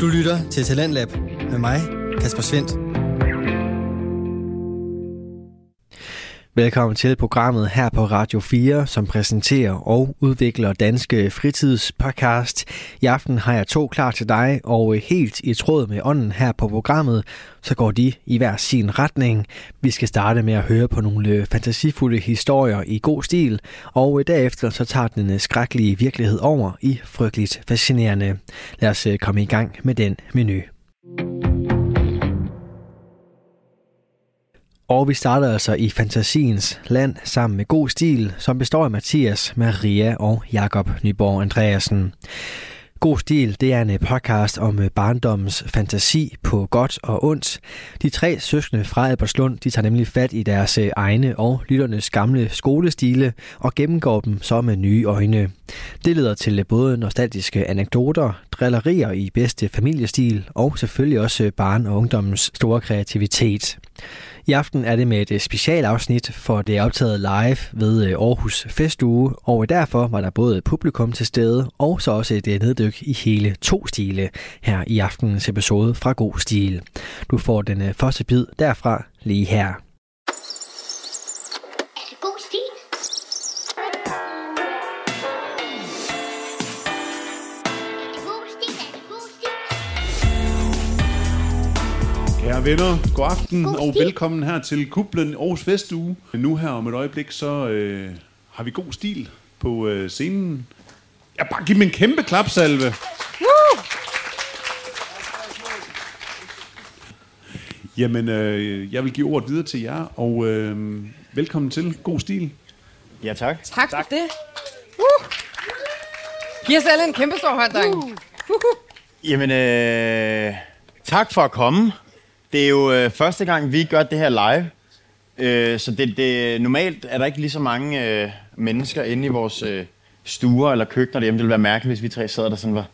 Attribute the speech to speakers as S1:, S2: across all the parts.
S1: Du lytter til Talentlab med mig, Kasper Svendt. Velkommen til programmet her på Radio 4, som præsenterer og udvikler danske fritidspodcast. I aften har jeg to klar til dig, og øh, helt i tråd med ånden her på programmet, så går de i hver sin retning. Vi skal starte med at høre på nogle øh, fantasifulde historier i god stil, og øh, derefter så tager den øh, skrækkelige virkelighed over i frygteligt fascinerende. Lad os øh, komme i gang med den menu. Og vi starter altså i fantasiens land sammen med god stil, som består af Mathias, Maria og Jakob Nyborg Andreasen. God Stil, det er en podcast om øh, barndommens fantasi på godt og ondt. De tre søskende fra Albertslund, de tager nemlig fat i deres øh, egne og lytternes gamle skolestile og gennemgår dem så med nye øjne. Det leder til øh, både nostalgiske anekdoter, drillerier i bedste familiestil og selvfølgelig også øh, barn- og ungdommens store kreativitet. I aften er det med et øh, specialafsnit, for det er optaget live ved øh, Aarhus Festuge, og derfor var der både publikum til stede og så også et øh, neddyk i hele to stile her i aftenens episode fra God Stil. Du får den øh, første bid derfra lige her.
S2: Er det god stil? Er det god stil? Er det god stil?
S3: Kære venner, god aften
S2: God
S3: og
S2: stil.
S3: velkommen her til Kublen Aarhus Vestuge. Nu her om et øjeblik, så øh, har vi god stil på øh, scenen. Ja, bare giv dem en kæmpe klapsalve. Jamen, øh, jeg vil give ordet videre til jer, og øh, velkommen til God Stil.
S4: Ja, tak.
S5: Tak, tak. for det. Uh. Giv os alle en kæmpe stor hånd, drenge. Uh.
S4: Jamen, øh, tak for at komme. Det er jo øh, første gang, vi gør det her live. Øh, så det, det, normalt er der ikke lige så mange øh, mennesker inde i vores øh, stuer eller køkkener derhjemme. Det ville være mærkeligt, hvis vi tre sad der sådan var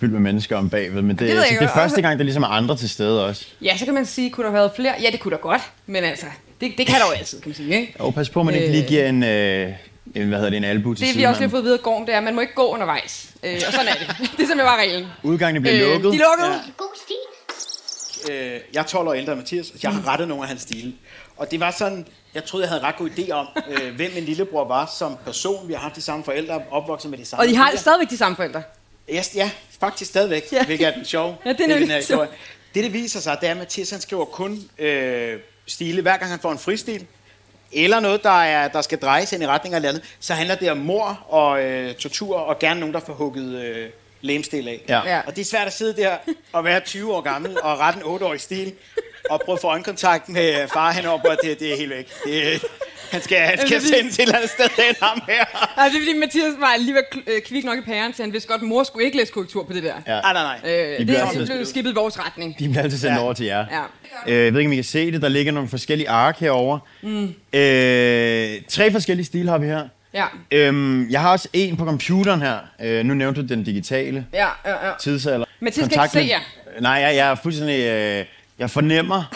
S4: fyldt med mennesker om bagved. Men det, det,
S5: ved jeg
S4: så det
S5: godt.
S4: er første gang, der ligesom er andre til stede også.
S5: Ja, så kan man sige, kunne der have været flere? Ja, det kunne der godt, men altså, det, det kan der jo altid, kan man sige, ikke?
S4: Og pas på, at man ikke lige giver en, øh, en hvad hedder det, en albu til
S5: Det vi
S4: sidemanden.
S5: også lige har fået at vide af gården, det er, at man må ikke gå undervejs. Øh, og sådan er det. Det er simpelthen bare reglen.
S4: Udgangen bliver øh, lukket.
S5: de er lukket. Ja.
S2: Er det god stil?
S6: Øh, jeg er 12 år ældre end Mathias, og jeg
S5: Mm.
S6: har rettet nogle af hans stile. Og det var sådan, jeg troede, jeg havde en ret god idé om, øh, hvem min lillebror var som person. Vi har haft de samme forældre, opvokset med de samme
S5: Og de har
S6: stiler.
S5: stadigvæk de samme forældre.
S6: Yes, ja, faktisk stadigvæk,
S5: Ja.
S6: ja. hvilket er den sjove.
S5: Ja, det er
S6: del i den
S5: nemlig
S6: her
S5: sjovt.
S6: historie. Det, det viser sig, det er, at Mathias han skriver kun øh, stile, hver gang han får en fristil, eller noget, der, er, der skal drejes ind i retning af landet, så handler det om mor og øh, tortur, og gerne nogen, der får hukket øh, lemstil af.
S4: Ja.
S5: Ja.
S6: Og det er svært at sidde der og være 20 år gammel og rette en 8-årig stil, og prøve at få øjenkontakt med øh, far henover, og det, det er helt væk. Det, øh, han skal, han skal
S5: det er-
S6: sendes et eller andet sted hen, ham her.
S5: Altså, det er fordi, Mathias var alligevel kl- øh, kvik nok i pæren, så han vidste godt, at mor skulle ikke læse korrektur på det der.
S4: Ja.
S6: Ej, Ah, nej, nej.
S5: Øh, det
S4: bliver
S5: er
S4: altså
S5: det blev
S4: skudt.
S5: skippet i vores retning.
S4: De bliver altid sendt
S6: Ja.
S4: over til jer.
S5: Ja.
S4: Øh, jeg ved ikke, om I kan se det. Der ligger nogle forskellige ark herovre. Mm. Øh, tre forskellige stil har vi her.
S5: Ja.
S4: Øhm, jeg har også en på computeren her. Øh, nu nævnte du den digitale
S5: Ja, ja, ja.
S4: tidsalder.
S5: Mathias kan ikke
S4: Kontaktled-
S5: se jer.
S4: Nej, jeg, jeg er fuldstændig... Øh, jeg fornemmer,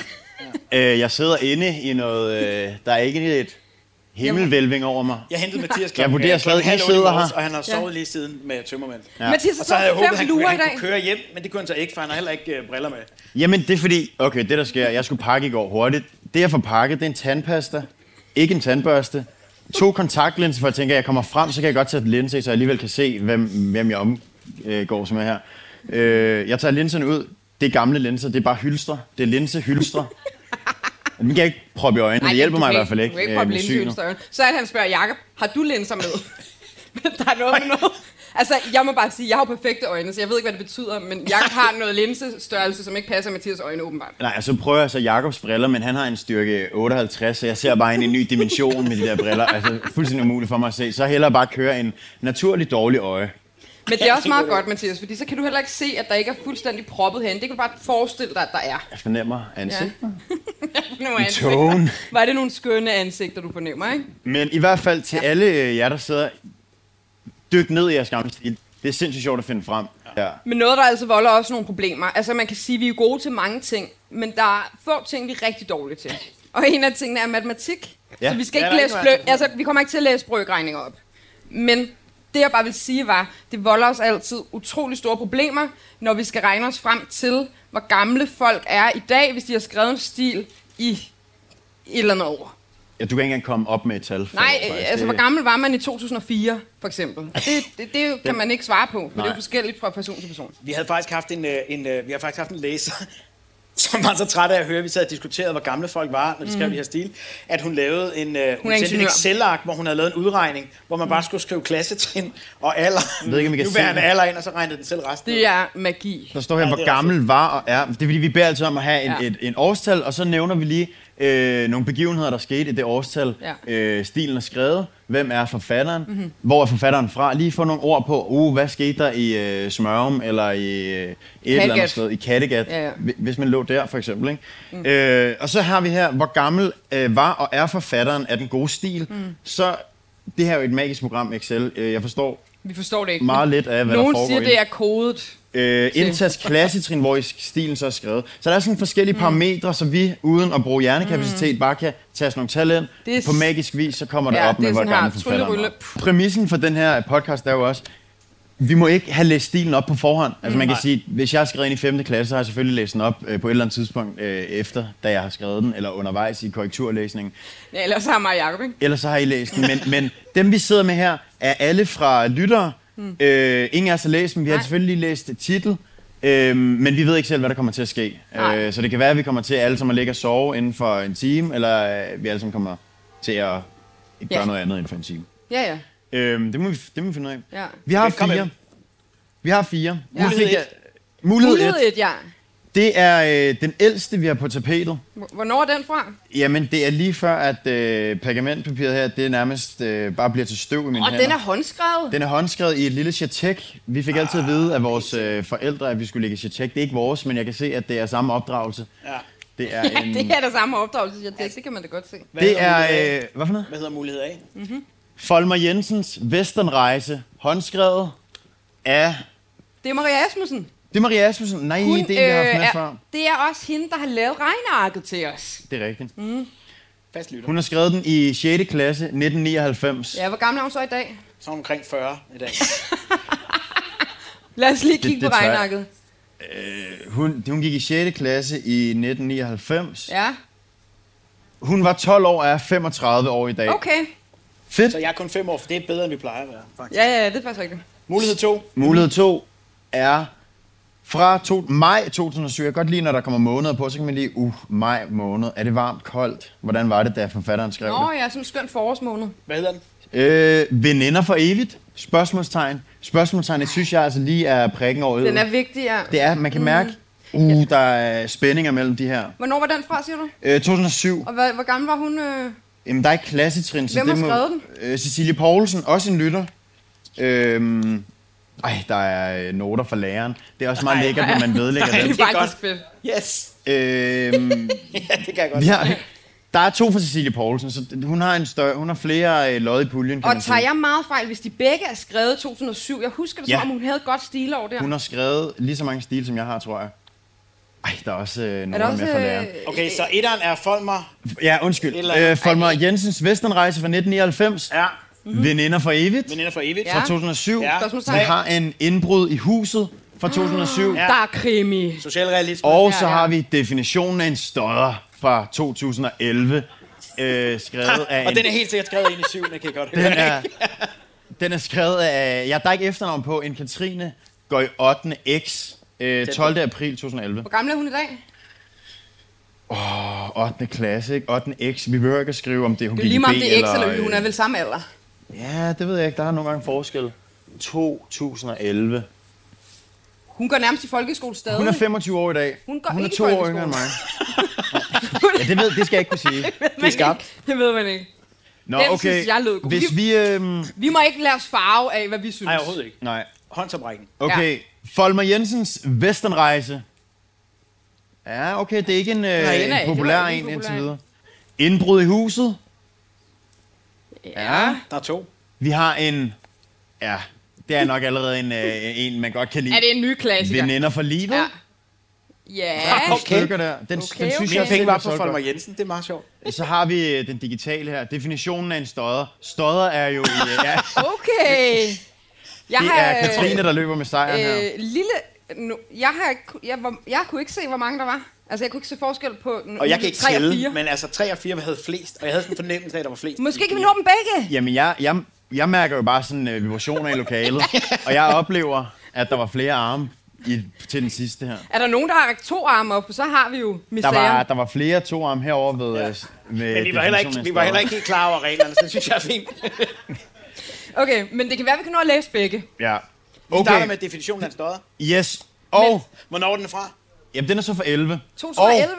S4: øh, jeg sidder inde i noget... Øh, der er ikke et himmelvælving over mig.
S6: Jeg hentede Mathias
S4: Jeg vurderer
S6: øh,
S4: stadig,
S6: klokken
S4: I
S6: halv otte i
S4: sidder
S6: morges,
S4: her.
S6: Og han har sovet lige siden med tømmermænd.
S4: Ja.
S5: Mathias har
S6: Og så havde jeg
S5: sovet
S6: håbet, han,
S5: fem
S6: kunne,
S5: lurer i
S6: han
S5: dag.
S6: kunne køre hjem, men det kunne han så ikke, for han har heller ikke øh, briller med.
S4: Jamen, det er fordi... Okay, det der sker... Jeg skulle pakke i går hurtigt. Det, jeg får pakket, det er en tandpasta. Ikke en tandbørste. To kontaktlinser, for jeg tænker, at jeg kommer frem, så kan jeg godt tage et linse, i, så jeg alligevel kan se, hvem, hvem jeg omgår, som er her. Øh, jeg tager linserne ud. Det er gamle linser. Det er bare hylstre. Det er linsehylstre. Dem kan jeg ikke proppe i øjnene.
S5: Ej,
S4: det
S5: du
S4: hjælper mig i
S5: kan
S4: hvert fald ikke.
S5: Du kan ikke
S4: øh,
S5: proppe
S4: med synet.
S5: linser i øjnene. Så er det, han spørger, Jakob, har du linser med? der er noget med noget. Altså, jeg må bare sige, jeg har jo perfekte øjne, så jeg ved ikke, hvad det betyder, men Jakob har noget linsestørrelse, som ikke passer Mathias øjne åbenbart.
S4: Nej, og så prøver jeg så Jakobs briller, men han har en styrke 58, så jeg ser bare ind i en ny dimension med de der briller. Altså, fuldstændig umuligt for mig at se. Så hellere bare køre en naturlig dårlig øje.
S5: Men det er også meget godt, Mathias, fordi så kan du heller ikke se, at der ikke er fuldstændig proppet hen. Det kan du bare forestille dig, at der er.
S4: Jeg fornemmer ansigt. Ja.
S5: Nogle
S4: tone.
S5: ansigter. Var det nogle skønne ansigter, du fornemmer, ikke?
S4: Men i hvert fald til ja. alle øh, jer, der sidder, dyk ned i jeres gamle stil. Det er sindssygt sjovt at finde frem. Ja.
S5: Men noget, der altså volder også nogle problemer. Altså man kan sige, at vi er gode til mange ting, men der er få ting, vi er rigtig dårlige til. Og en af tingene er matematik. Ja.
S4: Ja.
S5: Så vi skal
S6: Ja,
S5: ikke
S6: der er
S5: læse
S6: ikke
S5: blø-
S6: noget
S5: altså, vi kommer ikke til at læse brøkregninger op. Men Det jeg bare vil sige var, det volder os altid utrolig store problemer, når vi skal regne os frem til, hvor gamle folk er i dag, hvis de har skrevet en stil i et eller andet år.
S4: Ja, du kan ikke engang komme op med et tal. for
S5: Nej,
S4: det, faktisk.
S5: øh, altså
S4: Det-
S5: hvor gammel var man i 2004, for eksempel? Det, det, det kan man ikke svare på, for det er
S4: Nej.
S5: jo forskelligt fra person til person.
S6: Vi havde faktisk haft en, øh, en, øh, vi har faktisk haft en læser, som var så træt af at høre, at vi sad og diskuterede, hvor gamle folk var, når de skrev mm. de her stil, at hun lavede en, øh, hun
S5: er
S6: sendte en
S5: ingeniør. Mm.
S6: Excel-ark, hvor hun havde lavet en udregning, hvor man bare skulle skrive klassetrin og alder.
S4: Jeg ved ikke, om I kan se
S6: Nuværende
S4: det.
S6: alder ind, og så regnede den selv resten. ud.
S5: Det er magi.
S4: Der står her,
S6: Ja,
S4: hvor
S6: det er
S4: gammel var og er. Det er fordi, vi beder altid om at have en,
S5: Ja.
S4: ja. et, en årstal, og så nævner vi lige øh, nogle begivenheder, der skete i det årstal.
S5: Ja. Mhm.
S4: Ja. Øh, stilen er skrevet. Hvem er forfatteren? Mm-hmm. Hvor er forfatteren fra? Lige få nogle ord på, uh, hvad skete der i øh, Smørum, eller i øh, et eller andet
S5: Kattegat.
S4: sted, i Kattegat,
S5: Ja, ja.
S4: hvi- hvis man lå der for eksempel. Ikke? Mm. Øh, og så har vi her, hvor gammel øh, var og er forfatteren af den gode stil. Mm. Så det her er jo et magisk program, Excel. Øh, jeg forstår
S5: Vi forstår det ikke.
S4: meget lidt af, hvad
S5: Nogen
S4: der foregår
S5: siger,
S4: i
S5: det er kodet.
S4: øh, indsats klassetrin, hvor i stilen så er skrevet. Så der er sådan forskellige
S5: Mm.
S4: parametre, så vi uden at bruge hjernekapacitet bare kan tage sådan nogle talent.
S5: Det er s-
S4: På magisk vis, så kommer det
S5: Ja,
S4: op
S5: det
S4: med,
S5: er
S4: hvor
S5: sådan her,
S4: gammel forfatteren
S5: tryllerylle.
S4: var. Præmissen for den her podcast er jo også, vi må ikke have læst stilen op på forhånd. Altså man kan
S5: Mm.
S4: sige, hvis jeg har skrevet den i 5. klasse, så har jeg selvfølgelig læst den op øh, på et eller andet tidspunkt øh, efter, da jeg har skrevet den, eller undervejs i korrekturlæsningen.
S5: Ja, ellers har mig og Jacob, ikke?
S4: Ellers så har I læst den. Men, men dem, vi sidder med her, er alle fra lyttere. Mm. Øh, ingen af os har læst dem. Vi har
S5: Hmm. Nej.
S4: selvfølgelig lige læst titel. Øh, men vi ved ikke selv, hvad der kommer til at ske.
S5: Nej.
S4: Øh, så det kan være, at vi kommer til alle sammen at ligge og sove inden for en time, eller øh, vi alle sammen kommer til at gøre
S5: Ja.
S4: noget andet inden for en time.
S5: Ja, ja.
S4: Øh, det, må vi, det må vi finde ud af.
S5: Ja.
S4: Vi har
S6: Velkommen.
S4: fire. Vi har fire.
S5: Ja.
S4: Nu fik
S6: Mulighed
S4: jeg- Mulighed,
S5: Mulighed
S4: mulighed et.
S5: et, ja.
S4: Det er øh, den ældste, vi har på tapetet.
S5: Hvor- Hvornår er den fra?
S4: Jamen, det er lige før, at øh, pergamentpapiret her, det nærmest øh, bare bliver til støv i mine
S5: Og
S4: hænder.
S5: den er håndskrevet.
S4: Den er håndskrevet i et lille chatek. Vi fik altid at vide af vores øh, forældre, at vi skulle lægge chatek. Det er ikke vores, men jeg kan se, at det er samme opdragelse.
S6: Ja.
S4: Det er en...
S5: Det er der samme opdragelse, jeg det, det kan man da godt se.
S6: Hvad
S4: det
S6: hedder
S4: er
S6: mulighed A?
S4: øh, hvad for noget?
S6: Hvad hedder mulighed A?
S4: Folmer Jensens Westernrejse, håndskrevet af...
S5: Det er Maria Asmussen. øh,
S4: Det er Maria Asmussen. Nej, Hun, det er en, jeg har haft med før.
S5: er, det er også hende, der har lavet regnearket til os.
S4: Det er rigtigt.
S6: Fast lytter.
S4: Hun har skrevet den i 6. klasse 1999.
S5: Ja, hvor gammel er hun så i dag?
S6: Så er hun omkring 40 i dag.
S5: Lad os lige kigge
S4: det
S5: på
S4: tager jeg.
S5: regnearket.
S4: Hun, hun gik i 6. klasse i 1999.
S5: Ja,
S4: Hun var 12 år og er 35 år i dag.
S5: okay.
S4: Fedt.
S6: Så jeg er kun 5 år, for det er bedre, end vi plejer at være. Faktisk.
S5: Ja, ja, det er faktisk rigtigt.
S6: Mulighed 2.
S4: Mulighed 2 er fra to, maj 2007. Jeg kan godt lide, når der kommer måneder på, så kan man lige, uh, maj måned. Er det varmt, koldt? Hvordan var det, da forfatteren skrev
S5: Nå ja, sådan en skøn forårsmåned.
S6: Hvad hedder den?
S4: det? Øh, veninder for evigt? Spørgsmålstegn. Spørgsmålstegn, det synes jeg altså lige er prikken over
S5: Den
S4: øjet.
S5: er Mhm. vigtig, ja.
S4: Det er, man kan mærke, uh, der er spændinger mellem de her.
S5: Hvornår var den fra, siger du?
S4: Øh, 2007.
S5: Og hvor, hvor gammel var hun? Øh?
S4: Jamen, der er ikke klassetrin, så
S5: Hvem har
S4: det må...
S5: skrevet den?
S4: Øh, Cecilie Poulsen, også en lytter. Øhm, ej, der er øh, noter fra læreren. Det er også meget lækkert, når man vedlægger
S5: Det
S4: dem.
S5: er faktisk
S6: godt.
S5: fedt.
S6: Yes.
S4: Øhm,
S6: Ja, det kan jeg godt.
S4: vi har, der er to fra Cecilie Poulsen, så hun har, en større, hun har flere øh, lod i puljen, kan
S5: Og
S4: man sige.
S5: tager jeg meget fejl, hvis de begge er skrevet i 2007? Jeg husker det, som
S4: Ja.
S5: om hun havde et godt stilår der.
S4: Hun har skrevet lige så mange stil, som jeg har, tror jeg. Ej, der er også øh,
S5: Er
S4: nogle
S5: der
S4: med
S5: også...
S4: fra læreren.
S5: øh,
S6: Okay, så etteren er Folmer.
S4: Ja, undskyld.
S6: Et eller andet.
S4: Øh, Folmer Jensens Westernrejse fra 1999.
S6: Ja.
S4: Veninder for evigt
S6: Veninder for evigt.
S5: Ja.
S4: fra 2007.
S6: Ja.
S5: Spørgsmålstegn.
S4: Vi har en indbrud i huset fra 2007.
S6: Ja.
S5: Der er krimi.
S6: Socialrealisme.
S4: Og
S5: Ja,
S4: så
S5: ja.
S4: har vi definitionen af en stodder fra 2011, øh, skrevet af
S6: og
S4: en
S6: den er helt sikkert skrevet ind i syvende, kan jeg godt
S4: Den
S6: høre.
S4: er, den er skrevet af, ja, der er ikke efternavn på, en Katrine går i 8. X, øh, 12. april 2011.
S5: Hvor gammel er hun i dag?
S4: Og 8. klasse, ikke? 8. X, vi behøver ikke at skrive, om det hun
S5: Det er
S4: gik
S5: jo lige meget,
S4: i
S5: om
S4: B,
S5: det er X eller Y.
S4: øh,
S5: Hun er vel samme alder.
S4: Ja, det ved jeg ikke, der er nogle gange forskel. 2011.
S5: Hun går nærmest i folkeskole stadig.
S4: Hun er 25 år i dag.
S5: Hun går
S4: hun er
S5: ikke i
S4: to år
S5: folkeskole.
S4: yngre end mig. Ja, det, ved, det skal jeg ikke kunne sige.
S5: det er skarpt. Det ved man ikke.
S4: Nå,
S5: Den
S4: okay.
S5: synes jeg lød god.
S4: Hvis vi... Øhm,
S5: Vi må ikke lade os farve af, hvad vi synes.
S6: Nej, overhovedet ikke.
S4: nej.
S6: Håndsoprækken.
S4: Okay.
S5: Ja.
S4: Ja. Folmer Jensens Westernrejse. Ja, okay, det er ikke en,
S5: Nej,
S4: øh,
S5: den er
S4: en
S5: ikke-
S4: populær
S5: det var ikke
S4: en
S5: en
S4: indtil
S5: populær
S4: videre. Indbrud i huset.
S5: Ja.
S6: Der er to.
S4: Vi har en... Ja, det er nok allerede en, øh, en man godt kan lide.
S5: Er det en ny klassiker?
S4: Veninder for livet.
S5: Ja.
S4: Ja.
S5: Ja.
S6: Okay.
S4: Stykker der. Den, okay, den
S5: okay.
S4: synes
S5: Mine
S4: jeg
S6: Mine penge
S4: selv
S6: var
S4: er
S6: på
S4: solgt
S6: Folmer
S4: godt.
S6: Jensen. Det er meget sjovt.
S4: Så har vi øh, den digitale her. Definitionen af en stodder. Stodder er jo... i, øh, Ja,
S5: Okay. Jeg
S4: det
S5: har,
S4: er
S5: øh,
S4: Katrine, der løber med sejren her.
S5: Øh, lille... Nu, jeg, har, ikke ku- jeg, var, jeg kunne ikke se, hvor mange der var. Altså, jeg kunne ikke se forskel på... n-
S6: Og jeg kan ikke
S5: tre og
S6: tælle,
S5: fire.
S6: men altså 3 og 4 havde flest, og jeg havde sådan en fornemmelse af, at der var flest.
S5: Måske kan vi nå dem begge.
S4: Jamen, jeg, jeg, jeg mærker jo bare sådan øh, vibrationer i lokalet, og jeg oplever, at der var flere arme i, til den sidste her.
S5: Er der nogen, der har rækket to arme op, så har vi jo
S4: Der
S5: misære.
S4: var, der var flere to arme herover ved, øh, ja. ved
S6: Men vi var, heller ikke, vi var heller ikke helt klar over reglerne, så det synes jeg er fint.
S5: Okay, men det kan være, vi kan nå at læse begge.
S4: Ja.
S6: Vi starter
S4: Okay,
S6: med definitionen af en stodder.
S4: yes. Og,
S6: Hvornår er den fra?
S4: jamen den er så for 11.
S5: 2011.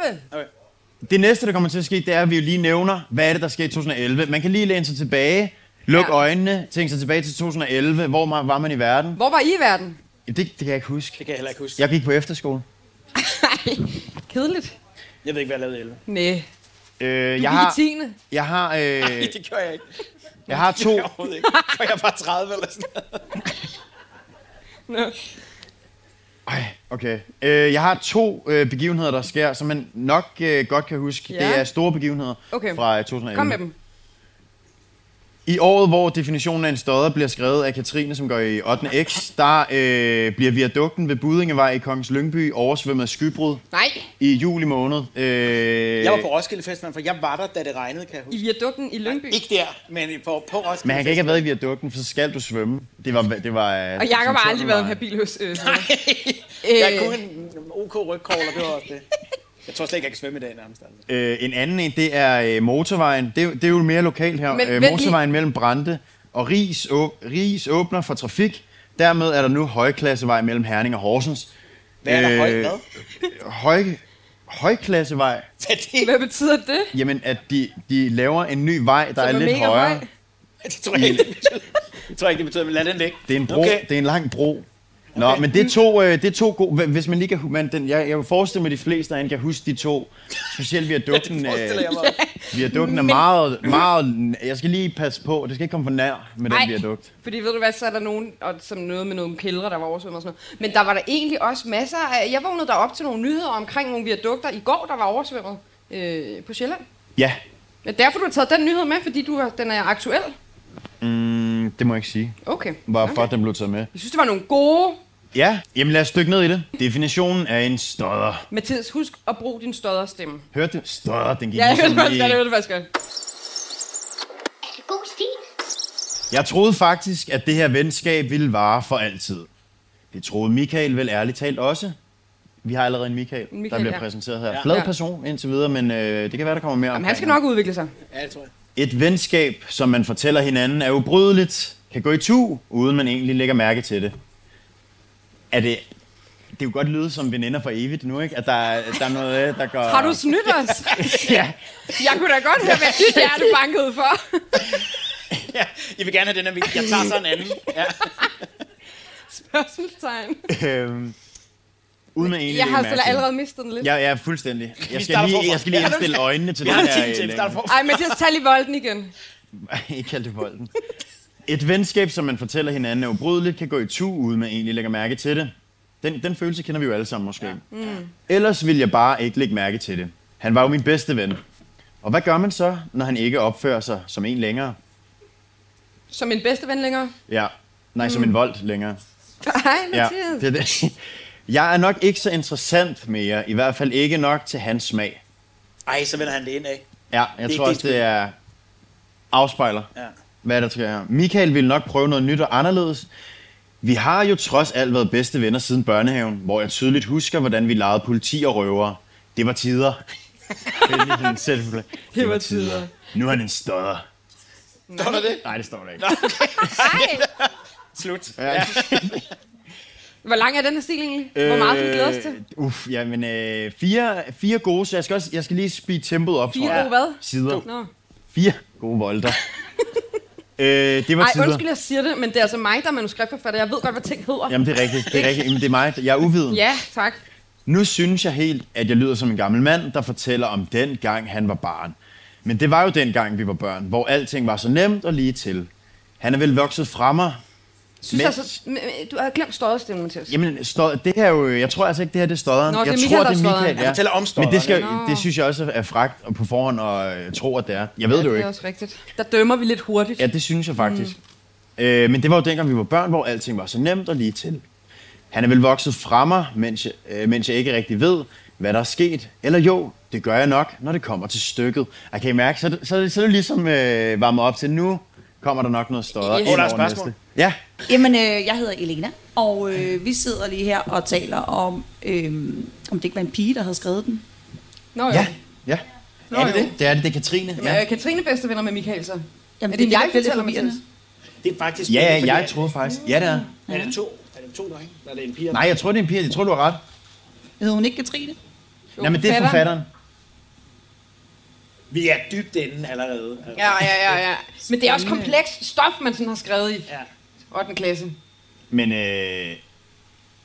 S4: Det næste, der kommer til at ske, det er, at vi jo lige nævner, hvad er det, der sker i 2011. Man kan lige læne sig tilbage, luk
S5: Ja.
S4: ja. øjnene, tænke sig tilbage til 2011. Hvor ma- var man i verden?
S5: Hvor var I i verden?
S4: Jamen, det, det kan jeg ikke huske.
S6: Det kan jeg heller ikke huske.
S4: Jeg gik på efterskole.
S5: Nej, kedeligt.
S6: Jeg ved ikke, hvad jeg lavede i 11.
S5: Nej, du
S4: Øh, jeg,
S5: gik i
S4: har,
S5: 10.
S4: jeg, har, øh,
S6: Det gjorde jeg ikke.
S4: jeg har
S6: Det
S4: to...
S6: gjorde jeg overhovedet ikke. For jeg var 30 eller sådan noget.
S5: Nå.
S4: Ej, okay. Øh, jeg har to øh, begivenheder, der sker, som man nok øh, godt kan huske.
S5: Ja.
S4: Det er store begivenheder
S5: Okay.
S4: fra øh, 2011.
S5: Kom med dem.
S4: I året, hvor definitionen af en stodder bliver skrevet af Katrine, som går i 8. X, der øh, bliver viadukten ved Budingevej i Kongens Lyngby oversvømmet af skybrud
S5: Nej,
S4: i juli måned. Øh,
S6: Jeg var på Roskilde Festival, for jeg var der, da det regnede, kan jeg
S5: i
S6: huske.
S5: viadukten i Lyngby.
S6: Ikke der, men i- på, på Roskilde
S4: men han kan ikke have været i viadukten, for så skal du svømme. Det var... Det var øh,
S5: Og Jacob har aldrig været en habil hos... Øh, sådan noget.
S6: Festival. Jeg
S5: Øh.
S6: kunne en OK rygkogler, det var også det. Jeg tror slet ikke, jeg kan svømme i dag nærmest. Altså.
S4: Øh, en anden en, det er øh, motorvejen. Det, er jo- det er jo mere lokalt her.
S5: Men
S4: øh,
S5: vent lige.
S4: motorvejen mellem Brande og Ries, åb- Ries åbner for trafik. Dermed er der nu højklassevej mellem Herning og Horsens.
S6: Hvad er der højt
S4: Øh,
S6: hvad?
S4: Høj, højklassevej.
S6: Hvad er det?
S5: Hvad betyder det?
S4: Jamen, at de, de laver en ny vej, der
S5: Som
S4: er lidt
S5: mega
S4: højere.
S5: høj.
S6: Det tror jeg ikke, det betyder. Det tror jeg ikke, det betyder, men lad den ligge.
S4: Det er en bro.
S6: Okay.
S4: Okay. Det er en lang bro. Nå, okay. men det er to, øh, det er to gode... Hvis man lige kan... hu- Man, den, jeg, jeg vil forestille mig, at de fleste af jer kan huske de to. Specielt viadukten.
S6: Ja, det forestiller jeg mig.
S4: viadukten er meget, meget... Jeg skal lige passe på. Det skal ikke komme for nær med
S5: Nej,
S4: den viadukt.
S5: fordi ved du hvad, så er der nogen, og, som noget med nogle kældre, der var oversvømmet og sådan noget. Men der var der egentlig også masser af... Jeg vågnede der op til nogle nyheder omkring nogle viadukter i går, der var oversvømmet øh, på Sjælland.
S4: Ja,
S5: Men derfor du har taget den nyhed med, fordi du har, den er aktuel.
S4: mm, det må jeg ikke sige.
S5: Okay.
S4: Hvorfor
S5: okay.
S4: okay. den blev taget med.
S5: Jeg synes, det var nogle gode...
S4: Ja, jamen lad os dykke ned i det. Definitionen af en stodder.
S5: Mathias, husk at bruge din stodderstemme.
S4: Hørte du? Stodder, den gik
S5: Ja, jeg hørte det
S4: ligesom
S5: faktisk godt, jeg
S4: i...
S5: hørte det faktisk godt.
S2: Er det god stil?
S4: Jeg troede faktisk, at det her venskab ville vare for altid. Det troede Michael vel ærligt talt også. Vi har allerede en Michael,
S5: Michael,
S4: Michael der bliver
S5: ja.
S4: ja. præsenteret her. Flad
S5: Ja.
S4: person indtil videre, men øh, det kan være, der kommer mere
S5: Jamen,
S4: omkring
S5: han skal
S4: ham.
S5: nok udvikle sig.
S6: Ja, det tror jeg.
S4: Et venskab, som man fortæller hinanden, er ubrydeligt, kan gå i tu, uden man egentlig lægger mærke til det. Er det... Det er jo godt lyde som veninder for evigt nu, ikke? At der, er- der er noget, øh, der går...
S5: Har du snydt os?
S4: Ja.
S5: Jeg kunne da godt høre, hvad dit hjerte bankede for.
S6: Ja, I vil gerne have den her video. Jeg tager så en anden. Ja.
S5: Spørgsmålstegn.
S4: Øhm, uden man egentlig
S5: Jeg
S4: lægger
S5: har
S4: mærke
S5: selv
S4: til det.
S5: allerede mistet den lidt.
S4: Ja, ja, fuldstændig. Jeg skal,
S6: starter
S4: lige,
S6: forfra.
S4: jeg skal lige
S6: Ja, nu
S4: indstille
S6: skal-
S4: øjnene til
S6: Vi
S4: den
S6: har en
S4: her.
S6: time til, vi
S4: øh,
S6: starter forfra.
S5: Ej, Mathias, tag lige volden igen.
S4: længe. Ikke kald det bolden. Et venskab, som man fortæller hinanden er ubrydeligt, kan gå i tu, uden man egentlig lægger mærke til det. Den, den følelse kender vi jo alle sammen måske. Ja. Mm. Ellers vil jeg bare ikke lægge mærke til det. Han var jo min bedste ven. Og hvad gør man så, når han ikke opfører sig som en længere?
S5: Som min bedste ven længere.
S4: Ja, nej, mm. som en vold længere.
S5: Hej,
S4: Ja,
S5: Mathias.
S4: det er det. Jeg er nok ikke så interessant mere, i hvert fald ikke nok til hans smag.
S6: Ej, så vender han det ind af.
S4: Ja, jeg
S6: Det er
S4: tror
S6: ikke
S4: også,
S6: din
S4: det er afspejler.
S6: Ja.
S4: hvad der sker her. Michael ville nok prøve noget nyt og anderledes. Vi har jo trods alt været bedste venner siden børnehaven, hvor jeg tydeligt husker, hvordan vi legede politi og røvere. Det var tider. Vældig sådan selvfuld- det
S5: var tider.
S4: Nu er han en stodder.
S6: Står der det?
S4: Nej, det står der ikke.
S5: Hej.
S6: Slut.
S4: Ja.
S5: Hvor lang er den her stil egentlig? Hvor meget kan vi glæde os til?
S4: Øh, Uff, jamen øh, fire, fire gode, så jeg skal, også, jeg skal lige speede tempoet op,
S5: Fire
S4: tror jeg.
S5: gode hvad?
S4: Sider.
S5: Nå.
S4: Fire gode volter. øh, det var
S5: Ej,
S4: tider.
S5: undskyld, jeg siger det, men det er altså mig, der er manuskriptforfatter. Jeg ved godt, hvad ting hedder.
S4: Jamen, det er rigtigt. Det er, rigtigt. Jamen, det er mig. Jeg er uviden.
S5: Ja, tak.
S4: Nu synes jeg helt, at jeg lyder som en gammel mand, der fortæller om den gang, han var barn. Men det var jo den gang, vi var børn, hvor alting var så nemt og lige til. Han er vel vokset fra mig.
S5: Synes
S4: Men-
S5: altså, m- m- du har glemt støjstemmen, Mathias.
S4: Jamen, stod, det her er jo, jeg tror altså ikke, det her det er stodderen.
S5: Nå, det er
S4: jeg
S5: Michael, der
S4: tror,
S5: er stodderen.
S4: ja.
S6: Han fortæller om
S4: Men det, skal,
S5: stodderen. Nå.
S4: det synes jeg også er fragt og på forhånd og øh, tro, at det er. Jeg ved det jo
S5: det er
S4: ikke.
S5: også rigtigt. Der dømmer vi lidt hurtigt.
S4: Ja, det synes jeg faktisk. Øh, men det var jo dengang, vi var børn, hvor alting var så nemt og lige til. Han er vel vokset fra mig, mens jeg, øh, mens jeg ikke rigtig ved, hvad der er sket. Eller jo, det gør jeg nok, når det kommer til stykket. Og kan I mærke, så, er det- så, er det- så er det ligesom øh, varmet op til, nu kommer der nok noget større.
S5: Yes.
S4: ind
S5: Åh,
S6: der er
S4: over
S6: spørgsmål.
S4: næste. Ja,
S7: Jamen, øh, jeg hedder Elena, og øh, vi sidder lige her og taler om, øh, om det ikke var en pige, der havde skrevet den.
S5: Nå jo.
S4: ja, ja.
S5: Nå,
S4: er det
S5: jo.
S4: det? Det er det, det er Katrine.
S5: Jamen,
S4: Ja,
S5: øh, Katrine bedste venner med Michael, så.
S7: Jamen,
S5: er det,
S7: det er
S5: en
S7: det, der
S5: jeg
S7: bliver lidt
S5: fortæller mig
S7: forvirrende.
S5: til?
S6: Det er faktisk...
S4: ja, ja
S6: fordi
S4: jeg
S6: at-
S4: troede faktisk. Ja, det er.
S6: Er det to? Er det to drenge? Eller er det en pige?
S4: Nej, jeg tror, det er en pige. Jeg tror, du har ret.
S7: Hed hun ikke Katrine?
S5: Jo,
S4: Nej, men det er forfatteren.
S6: Vi er dybt inde allerede. Altså,
S5: Ja, ja, ja, ja. Men det er også komplekst stof, man sådan har skrevet i
S6: Ja.
S5: 8. klasse.
S4: Men øh,
S6: Men det er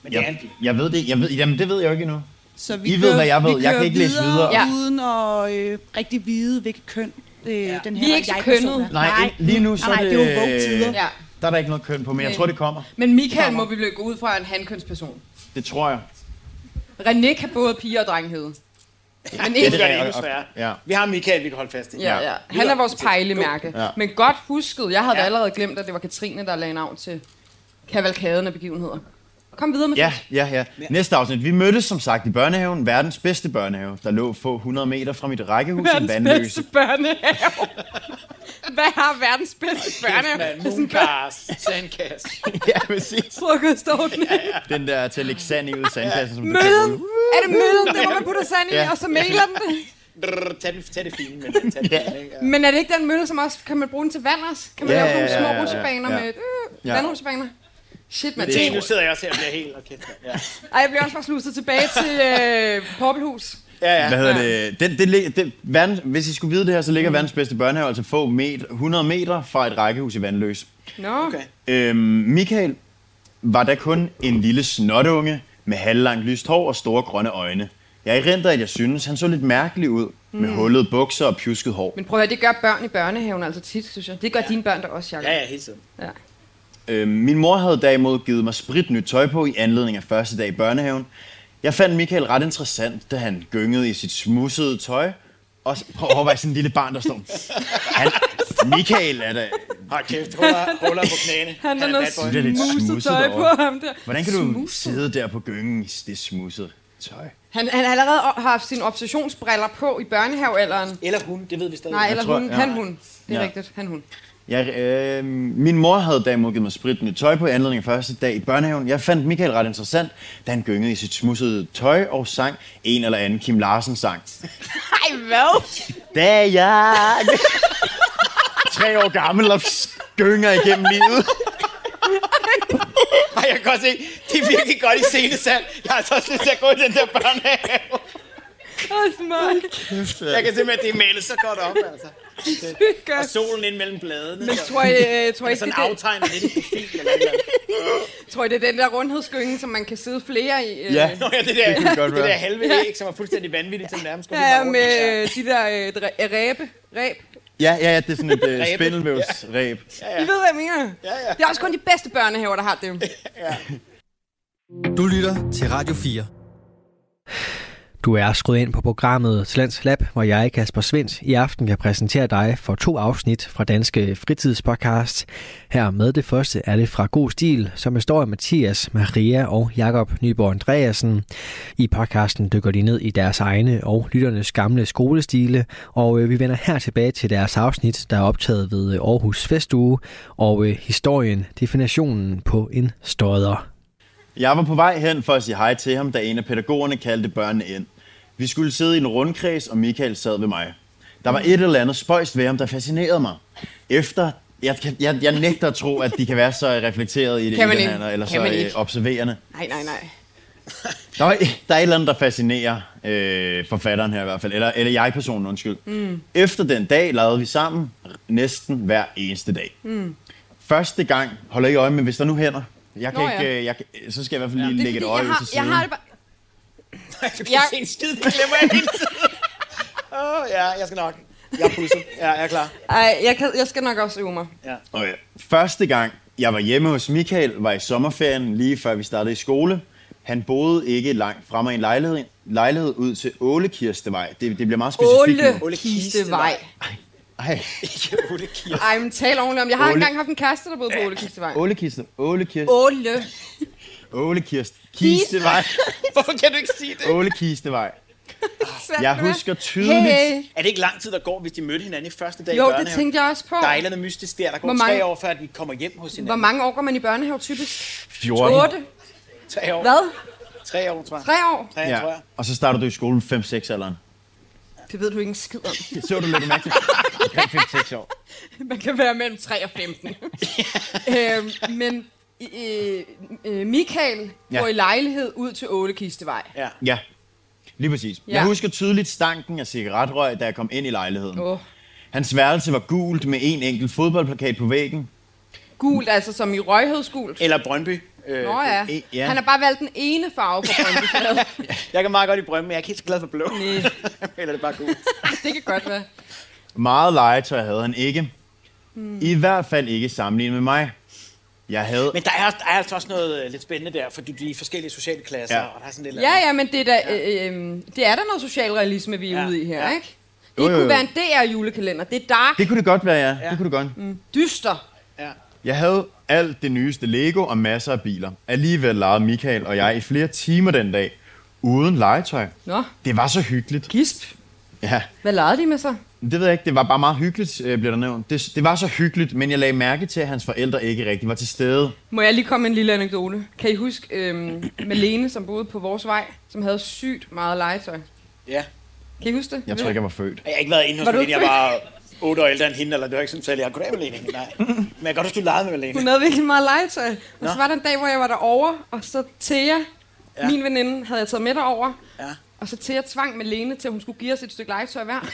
S6: en
S4: jeg,
S6: pige.
S4: jeg ved det. Jeg ved, jamen, det ved jeg jo ikke endnu.
S7: Så vi
S4: I ved, hvad jeg ved.
S7: Vi
S4: Jeg kan
S7: kører
S4: ikke læse videre.
S5: Ja.
S7: Uden at øh, rigtig vide, hvilket køn øh, ja. den her
S5: Vi er ikke så
S7: jeg-person
S5: kønnet.
S4: Nej, lige nu, så
S7: nej,
S4: er
S7: nej,
S4: det-
S7: det er jo Øh. vogue-tider.
S5: Ja.
S4: Der er der ikke noget køn på, men jeg
S5: Nej.
S4: tror, det kommer.
S5: Men Michael må vi vel gå ud fra er en handkønsperson.
S4: Det tror jeg.
S5: René kan både piger og drenge hedde. Men
S6: Det
S5: ikke
S6: gør det
S4: Ja,
S6: endnu
S4: og-
S6: sværere.
S4: ja.
S6: Vi har Michael, vi kan holde fast i.
S5: Ja, ja. Han er vores pejlemærke.
S4: Ja.
S5: Ja. Men godt husket, jeg havde ja.
S6: Ja.
S5: allerede glemt, at det var Katrine, der lagde navn til kavalkaden af begivenheder. Kom videre med
S4: Ja,
S5: det.
S4: ja, ja. Næste afsnit. Vi mødtes som sagt i børnehaven, verdens bedste børnehave, der lå få 100 meter fra mit rækkehus i
S5: Verdens
S4: Vandløse.
S5: bedste børnehave. Hvad har verdens bedste børnehave?
S6: Med mooncars, sandkasse.
S4: ja, præcis.
S5: Frokostordning.
S4: Den der til at lægge sand i ud af sandkassen, som du kan
S5: Møllen.
S4: rulle.
S5: Er det møllen? Det må man putte sand i,
S4: Ja.
S5: og så mæler den det.
S6: Brrr, Tag det, tag det fine med det. Tag det fine, ikke? Ja.
S5: Men er det ikke den mølle, som også kan man bruge den til vand også? Kan man
S4: Ja,
S5: lave sådan
S4: ja,
S5: nogle små
S4: ja, ja,
S5: rutsjebaner
S4: ja.
S5: med øh,
S4: Ja.
S5: vandrutsjebaner? Shit, man.
S6: Se, nu sidder jeg også her og bliver helt... Okay, ja.
S5: Ej, jeg bliver også bare sluset tilbage til øh, Poppelhus.
S6: Ja, ja.
S4: Hvad hedder det? Den, det, lig- det verdens, hvis I skulle vide det her, så ligger
S7: Mm.
S4: verdens bedste børnehave altså få meter, 100 meter fra et rækkehus i Vandløse.
S5: Nå.
S6: Okay.
S4: Øhm, Michael var da kun en lille snotunge med halvlangt lyst hår og store grønne øjne. Jeg erindrer, at jeg synes, han så lidt mærkelig ud med
S6: Mm.
S4: hullede bukser og pjusket hår.
S5: Men prøv at høre, det gør børn i børnehaven altså tit, synes jeg. Det gør ja. dine børn der også, Jacob.
S6: Ja, ja, hele tiden.
S5: ja.
S4: Øhm, min mor havde derimod givet mig sprit nyt tøj på i anledning af første dag i børnehaven. Jeg fandt Michael ret interessant, da han gyngede i sit smussede tøj. Og s- prøv at overveje sådan en lille barn, der står... Han, Michael er da...
S6: Hold kæft, ruller, ruller på knæene.
S5: Han har noget
S4: Det er lidt
S5: smusset
S4: smusset
S5: tøj
S4: derovre.
S5: på ham der.
S4: Hvordan kan du
S5: Smusset?
S4: sidde der på gyngen i det smussede tøj?
S5: Han, han har allerede o- haft sine obsessionsbriller på i børnehavealderen.
S6: Eller hun, det ved vi stadig.
S5: Nej, eller
S4: tror-
S5: hun.
S4: ja.
S5: Han, hun. Det er
S4: Ja.
S5: rigtigt. Han, hun.
S4: Jeg, øh, min mor havde derimod givet mig sprit nyt tøj på i anledning af første dag i børnehaven. Jeg fandt Michael ret interessant, da han gyngede i sit smussede tøj og sang en eller anden Kim Larsen-sang.
S5: Ej, hvad?
S4: Da er jeg... Tre år gammel og gynger igennem livet.
S6: Ej, jeg kan godt se, det er virkelig godt i scenesand. Jeg har altså også lyst til at gå i den der børnehave.
S5: Også mig.
S6: Jeg kan simpelthen, det er malet så godt op, altså.
S5: Det gør.
S6: Og solen ind mellem bladene.
S5: Men tror I, øh, tror, I
S6: er
S5: ikke,
S6: sådan
S5: det, er
S6: aftegnet lidt i profil eller et eller andet.
S5: den- tror I, det er den der rundhedsgynge, som man kan sidde flere i? øh?
S4: Ja,
S6: Nå ja, det der,
S4: Det kunne godt
S6: det, det der
S4: være.
S6: halve æg, som er fuldstændig vanvittigt, som nærmest går
S5: Ja,
S6: lige
S5: med
S6: bare rundt.
S5: øh, de der øh, dræ- ræbe. Ræb.
S4: ja, ja, ja det er sådan et uh,
S6: Ræbe.
S4: spindelvævsræb.
S5: I ved, hvad jeg mener.
S6: Ja, ja.
S5: Det er også kun de bedste børnehaver, der har det.
S1: Du lytter til Radio 4. Du er skruet ind på programmet Talents Lab, hvor jeg, Kasper Svendt, i aften kan præsentere dig for to afsnit fra Danske Fritidspodcast. Her med det første er det fra God Stil, som består af Mathias, Maria og Jakob Nyborg Andreasen. I podcasten dykker de ned i deres egne og lytternes gamle skolestile, og øh, vi vender her tilbage til deres afsnit, der er optaget ved øh, Aarhus Festuge, og øh, historien, definitionen på en stodder.
S4: Jeg var på vej hen for at sige hej til ham, da en af pædagogerne kaldte børnene ind. Vi skulle sidde i en rundkreds, og Michael sad ved mig. Der var et eller andet spøjst ved ham, der fascinerede mig. Efter... Jeg, kan- jeg, jeg nægter at tro, at de kan være så reflekteret i det,
S5: Kan man
S4: i den
S5: ikke.
S4: her, eller
S5: Kan
S4: så
S5: man
S4: øh,
S5: ikke.
S4: observerende.
S5: Nej, nej, nej.
S4: Der, var, der er et eller andet, der fascinerer øh, forfatteren her i hvert fald, eller, eller jeg-personen, undskyld. Mm. Efter den dag lavede vi sammen næsten hver eneste dag. Mm. Første gang, holder I øje med, hvis der nu hænder. Jeg kan
S5: Nå
S4: Nå,
S5: ja.
S4: ikke, øh, jeg, kan- så skal jeg i hvert fald lige
S5: Det er
S4: lægge et
S5: fordi,
S4: øje
S5: jeg
S4: ud
S5: har,
S4: til
S5: jeg
S4: siden.
S5: har det bare...
S6: Du kan ikke se en skid, det glemmer jeg hele tiden. Åh, oh, ja, jeg skal nok. Jeg er pusset. Ja, jeg er klar.
S5: Ej, jeg, kan, jeg skal nok også øve mig.
S4: Og ja, første gang, jeg var hjemme hos Michael, var i sommerferien, lige før vi startede i skole. Han boede ikke langt fremme i en lejlighed, lejlighed ud til Ålekirstevej. Det, det bliver meget specifikt nu.
S5: Åle
S6: Ole
S5: Kistevej.
S6: Kistevej.
S4: Ej, Ej,
S5: Ej, men tal ordentligt om. Jeg har
S4: Ole.
S5: engang haft en kæreste, der boede på Ole Kistevej.
S4: Ålekiste. Ålekiste.
S5: Ole.
S4: Ålekiste. Kistevej.
S6: Hvorfor kan du ikke sige det?
S4: Ålekistevej. Jeg husker tydeligt.
S5: Hey.
S6: Er det ikke lang tid, der går, hvis de mødte hinanden i første dag i
S5: Jo, det
S6: børnehaven?
S5: tænkte jeg også på.
S6: Der er et eller andet mystisk der. Der går
S5: Hvor mange-
S6: tre år, før de kommer hjem hos hinanden.
S5: Hvor mange år går man i børnehave typisk?
S4: 14.
S5: 8?
S6: Tre år.
S5: Hvad?
S6: Tre år, tror jeg.
S5: 3 år?
S6: Tre, tror
S4: Ja.
S6: jeg.
S4: Og så starter du i skolen 5-6 alderen.
S5: Det ved du ikke en skid om.
S4: Det så du lidt mærke til. Omkring 5-6 år.
S5: Man kan være mellem 3 og 15. øhm, men øh, øh, Michael
S4: Ja.
S5: ja. går i lejlighed ud til 8 Kistevej.
S6: Ja.
S4: Ja. Lige præcis. Ja.
S5: Ja.
S4: Jeg husker tydeligt stanken af cigaretrøg, da jeg kom ind i lejligheden.
S5: Åh.
S4: Hans værelse var gult med en enkelt fodboldplakat på væggen.
S5: Gult, altså som i røghødsgult.
S6: Eller Brøndby. Øh,
S5: Nå ja.
S4: øh, ja.
S5: Han har bare valgt den ene farve på Brøndby.
S6: Jeg kan meget godt i Brøndby, men jeg er ikke helt så glad for blå. Eller det er bare gult.
S5: det kan godt være.
S4: Meget legetøj havde han ikke. Hmm. I hvert fald ikke sammenlignet med mig. Jeg havde...
S6: Men der er, der er altså også noget øh, lidt spændende der, for de, de forskellige sociale klasser,
S4: Ja.
S6: ja. og der er sådan et eller
S5: Ja,
S6: andet.
S5: ja, men det er da, øh, øh, det er da noget socialrealisme, vi er
S6: Ja,
S5: ude i her,
S6: ja.
S5: ikke? Det
S4: Jo, jo, jo.
S5: kunne være en DR-julekalender. Det er dark,
S4: Det kunne det godt være, ja. ja. Det kunne det godt. Mm.
S5: dyster.
S4: Jeg havde alt det nyeste Lego og masser af biler. Alligevel legede Michael og jeg i flere timer den dag, uden legetøj.
S5: Nå,
S4: Det var så hyggeligt.
S5: gisp.
S4: Ja,
S5: Hvad legede de med så?
S4: det ved jeg ikke. Det var bare meget hyggeligt, øh, bliver der nævnt. Det, det var så hyggeligt, men jeg lagde mærke til, at hans forældre ikke rigtig var til stede.
S5: Må jeg lige komme med en lille anekdote? Kan I huske øhm, Malene, som boede på vores vej, som havde sygt meget legetøj?
S6: ja.
S5: Kan I huske det?
S4: Jeg tror ikke, jeg var født.
S6: Jeg har ikke været inde hos
S5: Var du
S6: Malene, jeg
S5: ikke
S6: var otte år ældre end hende, eller det var ikke sådan, at jeg sagde, goddag Malene, nej. Men jeg kan godt huske, du legede med Malene.
S5: Hun havde virkelig meget legetøj. Og så
S6: Nå.
S5: var der en dag, hvor jeg var derovre, og så Thea, ja. min veninde, havde jeg taget med derover.
S6: Ja.
S5: Og så Thea tvang Malene til, at hun skulle give os et stykke legetøj hver.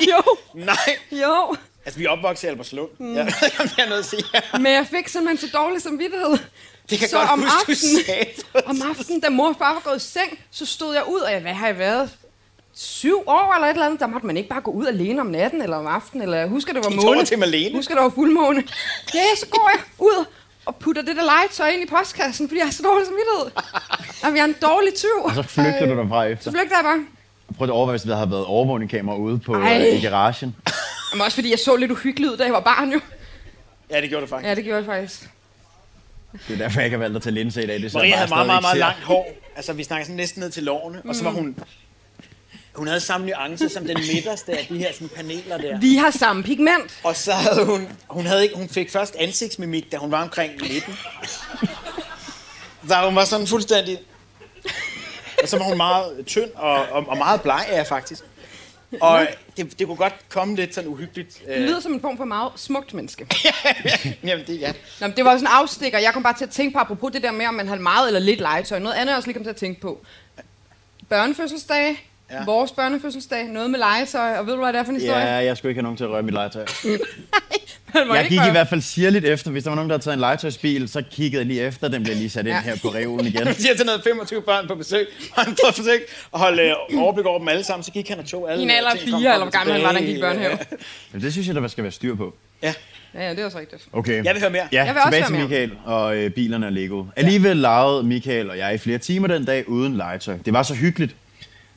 S5: jo,
S6: Nej,
S5: jo.
S6: altså vi er opvokset i Albertslund. Mm. Ja, jeg er nødt til at sige.
S5: Men jeg fik simpelthen så dårlig samvittighed.
S6: Det kan
S5: så
S6: godt
S5: om
S6: huske, du
S5: aftenen,
S6: sagde
S5: om aftenen, da mor og far var gået i seng, så stod jeg ud, og jeg, hvad har jeg været? Syv år eller et eller andet, der måtte man ikke bare gå ud alene om natten eller om aftenen, eller jeg husker, det var
S6: Gik du over
S5: måne.
S6: til Malene?
S5: Jeg husker, det var fuldmåne. Ja, så går jeg ud og putter det der legetøj ind i postkassen, fordi jeg har så dårlig samvittighed. Jamen, jeg er en dårlig tyv.
S4: Og Altså, så flygtede du derfra efter.
S5: Så flygter jeg bare.
S4: Prøv at overveje, hvis der havde været overvågningskamera ude på
S5: Ej.
S4: øh, i garagen.
S5: Men også fordi jeg så lidt uhyggelig ud, da jeg var barn jo.
S6: Ja, det gjorde du faktisk.
S5: Ja, det gjorde jeg faktisk.
S4: Det er derfor, jeg ikke har valgt at tage linse i dag. Det er
S6: Maria havde meget, meget, meget langt hår. Altså, vi snakker sådan næsten ned til lårene. Og så
S5: Mm.
S6: var hun... Hun havde samme nuance som den midterste af de her sådan, paneler der.
S5: Vi har samme pigment.
S6: Og så havde hun... Hun, havde ikke, hun fik først ansigtsmimik, da hun var omkring 19. Så hun var sådan fuldstændig... Og så var hun meget tynd og, og, og meget bleg, ja, faktisk. Og det, det kunne godt komme lidt sådan uhyggeligt.
S5: Det
S6: Øh,
S5: lyder som en form for meget smukt menneske.
S6: jamen, det, ja.
S5: Nå, men det var sådan en afstikker. Jeg kom bare til at tænke på, apropos det der med, om man har meget eller lidt legetøj. Noget andet, jeg også lige kom til at tænke på. Børnefødselsdage.
S6: Ja.
S5: Ja. Vores børnefødselsdag. Noget med legetøj. Og ved du, hvad det er for en historie?
S4: Ja, jeg skulle ikke have nogen til at røre mit legetøj.
S5: Man må
S4: Jeg
S5: ikke
S4: gik i
S5: røre-
S4: hvert fald sirligt efter. Hvis der var nogen, der havde taget en legetøjsbil, så kiggede jeg lige efter. Den blev lige sat ind
S5: Ja.
S4: her på reolen igen.
S6: Han siger til noget 25 børn på besøg, og han prøvede at forsøge at holde øh, overblik over dem alle sammen, så gik han og tog alle...
S5: I en alder af
S6: ting, kom-
S5: fire,
S6: kom
S5: eller hvor gammel han var, da han gik i
S6: tilbage.
S5: børnehave.
S4: Jamen, det synes jeg, der skal være styr på.
S6: Ja,
S5: Ja, ja, det er også rigtigt.
S4: Okay.
S6: Jeg vil høre mere.
S4: Ja,
S5: Jeg vil også
S4: tilbage
S5: høre
S4: til
S5: mere.
S4: Michael og øh, bilerne og Lego. Alligevel legede Michael og jeg i flere timer den dag uden legetøj. Det var så hyggeligt.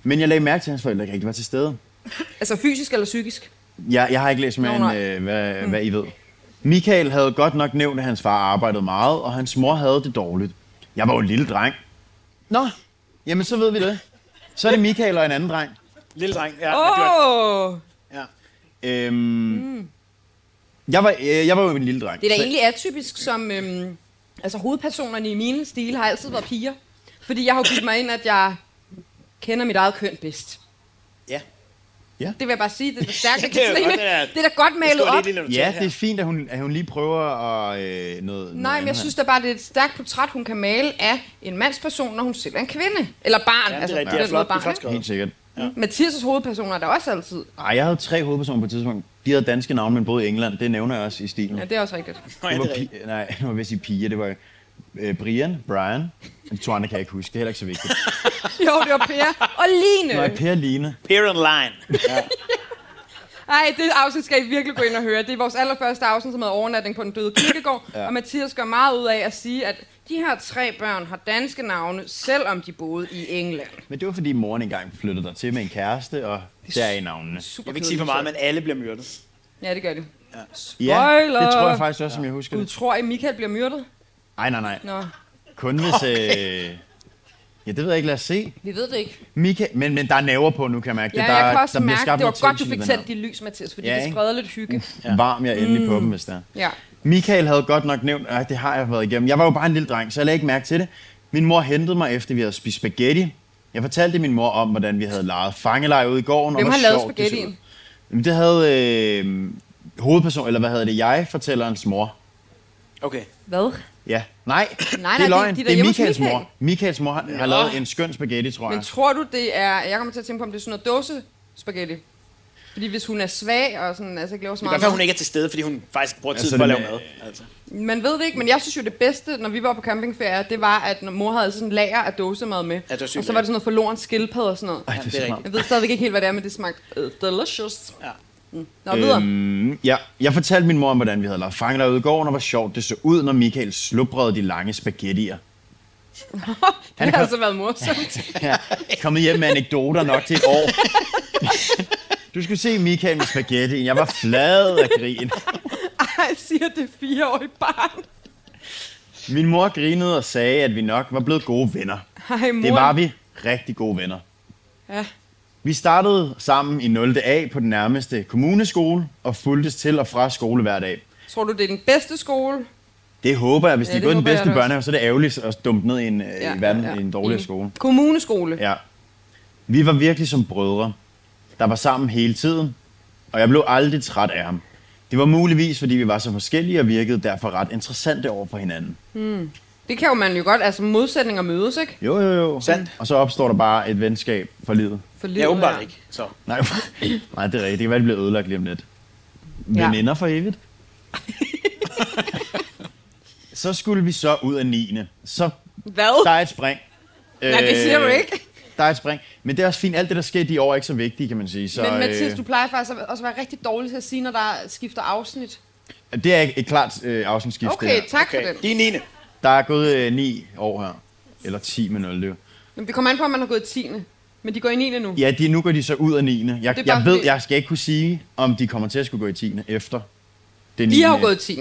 S4: Men jeg lagde mærke til, at hans forældre ikke rigtig var til stede.
S5: Altså fysisk eller psykisk?
S4: Jeg, jeg har ikke læst mere
S5: Nå,
S4: end,
S5: nej.
S4: øh, hvad, mm. hvad I ved. Michael havde godt nok nævnt, at hans far arbejdede meget, og hans mor havde det dårligt. Jeg var jo en lille dreng. Nå, jamen så ved vi det. Så er det Michael og en anden dreng.
S6: lille dreng. Ja,
S5: Åh!
S6: men det var-
S5: Oh,
S6: ja.
S4: Øhm, mm. jeg, var, øh, jeg var jo en lille dreng.
S5: det er da
S4: så-
S5: egentlig atypisk, som øhm, altså, hovedpersonerne i mine stil har altid været piger. Fordi jeg har jo givet mig ind, at jeg kender mit eget køn bedst.
S6: Ja.
S5: Det vil jeg bare sige, det er da stærkt,
S6: Ja,
S5: det, er
S6: godt, det er-
S5: det er da godt
S6: Det
S5: malet
S6: var
S5: op.
S6: lidt lille notat
S4: Ja,
S6: her.
S4: det er fint, at hun, at hun lige prøver at... Øh, noget,
S5: Nej, men jeg synes da bare, det er et stærkt portræt, hun kan male af en mandsperson, når hun selv er en kvinde. Eller barn.
S6: Ja, det er
S5: altså,
S6: rigtigt.
S5: på
S6: Det er
S5: den måde
S6: flot. Det er flot
S5: barn.
S6: skrevet.
S4: Helt sikkert.
S5: ikke? Mathias' hovedpersoner er der også altid.
S4: Ej, jeg havde tre hovedpersoner på et tidspunkt. De havde danske navne, men boede i England. Det nævner jeg også i stilen.
S5: Ja, det er også rigtigt.
S6: Nå, ja,
S4: Det
S6: det
S4: var
S6: er rigtigt.
S4: pi- nej, nu var jeg ved at sige piger. Det var øh, Brian, Brian. De to andre kan jeg ikke huske. Det er heller ikke så vigtigt.
S5: Jo, det var Per og
S4: Nej,
S5: Line.
S4: Per Line.
S6: Peer and line.
S5: Ej, det afsnit skal I virkelig gå ind og høre. Det er vores allerførste afsnit, som hedder Overnatning på den døde kirkegård. ja. Og Mathias gør meget ud af at sige, at de her tre børn har danske navne, selvom de boede i England.
S4: Men det var fordi moren engang flyttede der til med en kæreste, og der er i navnene.
S5: Super
S6: Jeg vil ikke sige for meget, men alle bliver myrdet.
S5: Ja, det gør de.
S4: Ja,
S5: Spoiler!
S4: det tror jeg faktisk også, som jeg husker
S5: Gud,
S4: det.
S5: tror I, Michael bliver myrdet?
S4: Nej, nej, nej.
S5: Nå,
S4: Kun hvis... Øh... Ja, det ved jeg ikke. Lad os se.
S5: vi ved det ikke.
S4: Mika, men, men der er næver på nu, kan jeg mærke.
S5: Ja,
S4: der,
S5: jeg kan også
S4: der bliver
S5: mærke,
S4: skabt
S5: det var
S4: noget
S5: godt, du
S4: tension i
S5: fik
S4: den
S5: tændt Mm. de lys, Mathias, fordi
S4: Ja,
S5: det
S4: ikke?
S5: spreder lidt hygge.
S4: her. Varm jeg endelig på dem, hvis der.
S5: Ja.
S4: Michael havde godt nok nævnt, at det har jeg været igennem. Jeg var jo bare en lille dreng, så jeg lagde ikke mærke til det. Min mor hentede mig, efter vi havde spist spaghetti. Jeg fortalte min mor om, hvordan vi havde leget fangeleje ude i gården.
S5: Hvem
S4: og hvor
S5: har lavet
S4: sjovt det så ud.
S5: spaghettien?
S4: Jamen, det havde øh, hovedperson, eller hvad hedder det, jeg, fortællerens mor.
S6: Okay.
S5: Hvad?
S4: Ja.
S5: nej,
S4: Nej, det
S5: det
S4: er
S5: er
S4: løgn.
S5: de der
S4: det er
S5: hjemme hos
S4: Michaels
S5: Michael.
S4: mor. Michaels mor har, har lavet en skøn spaghetti, tror
S5: Men
S4: jeg.
S5: tror du, det er... Jeg kommer til at tænke på, om det er sådan noget dåse spaghetti. Fordi hvis hun er svag og sådan, altså ikke laver så
S6: Det
S5: meget...
S6: kan være, hun ikke er til stede, fordi hun faktisk bruger tid
S4: Altså,
S6: på at
S4: det
S6: lave
S4: med-
S6: mad. Altså.
S5: mad. Man ved det ikke, men jeg synes jo, det bedste, når vi var på campingferie, det var, at når mor havde sådan en lager af dåsemad med.
S6: det var sygt
S5: og så var det sådan noget forloren skildpadde og sådan noget.
S4: Ej, det er
S6: det er
S4: så
S6: rigtigt.
S4: smart.
S5: Jeg ved stadigvæk ikke helt, hvad det er, men det smagte uh, delicious.
S6: Ja.
S5: Mm. Nå, videre.
S4: Mm, ja, jeg fortalte min mor om, hvordan vi havde lavet fanger derude i gården, og hvor sjovt det så ud, når Michael slubrede de lange spaghettier.
S5: det
S4: er
S5: har
S4: kom-
S5: altså været morsomt.
S4: Ja, kommet hjem med anekdoter nok til et år. Du skulle se Michael med spaghettien. Jeg var flad af grin.
S5: Ej, siger det fireårige barn.
S4: Min mor grinede og sagde, at vi nok var blevet gode venner.
S5: Ej, mor.
S4: Det var vi. Rigtig gode venner.
S5: Ja.
S4: Vi startede sammen i 0. A på den nærmeste kommuneskole og fuldtes til og fra skole hver dag.
S5: Tror du, det er den bedste skole?
S4: Det håber jeg. Hvis
S5: Ja,
S4: de er
S5: det
S4: gået den
S5: håber jeg da
S4: bedste
S5: også.
S4: børnehave, så er det ærgerligt at dumpe ned i en, ja, Øh, i verden, ja, i en dårligere
S5: Enig.
S4: skole.
S5: Kommuneskole. Ja.
S4: Ja. Vi var virkelig som brødre, der var sammen hele tiden, og jeg blev aldrig træt af ham. Det var muligvis, fordi vi var så forskellige og virkede derfor ret interessante over for hinanden.
S5: Det kan jo man jo godt, altså modsætninger mødes, ikke?
S4: Jo, jo, jo.
S6: Sandt.
S4: Og så opstår der bare et venskab for livet.
S5: For
S6: Ja,
S5: livet
S6: åbenbart
S5: her.
S6: ikke. Så.
S4: Nej, nej det er rigtigt. Det kan være, det bliver ødelagt lige om lidt.
S5: Ja.
S4: Veninder for evigt. så skulle vi så ud af 9. Så
S5: Hvad?
S4: der er et spring. Øh,
S5: Nej, det siger du ikke.
S4: Der er et spring. Men det er også fint. Alt det, der sker i de år, er ikke så vigtigt, kan man sige. Så,
S5: Men Mathias,
S4: øh,
S5: du plejer faktisk at- også at være rigtig dårlig til at sige, når der skifter afsnit.
S4: Det er et klart øh, afsnitskift, det
S5: Okay,
S4: her.
S5: tak okay.
S6: Okay.
S5: for den.
S6: Det er 9.
S4: Der er gået øh, 9 år her. Eller 10 med 0, det er jo.
S5: Men det kommer an på, om man har gået 10. Men de går i 9. nu.
S4: Ja, de, nu går de så ud af 9. Jeg,
S5: bare
S4: jeg ved,
S5: fordi-
S4: jeg skal ikke kunne sige, om de kommer til at skulle gå i 10. efter det 9.
S5: De har jo gået 10.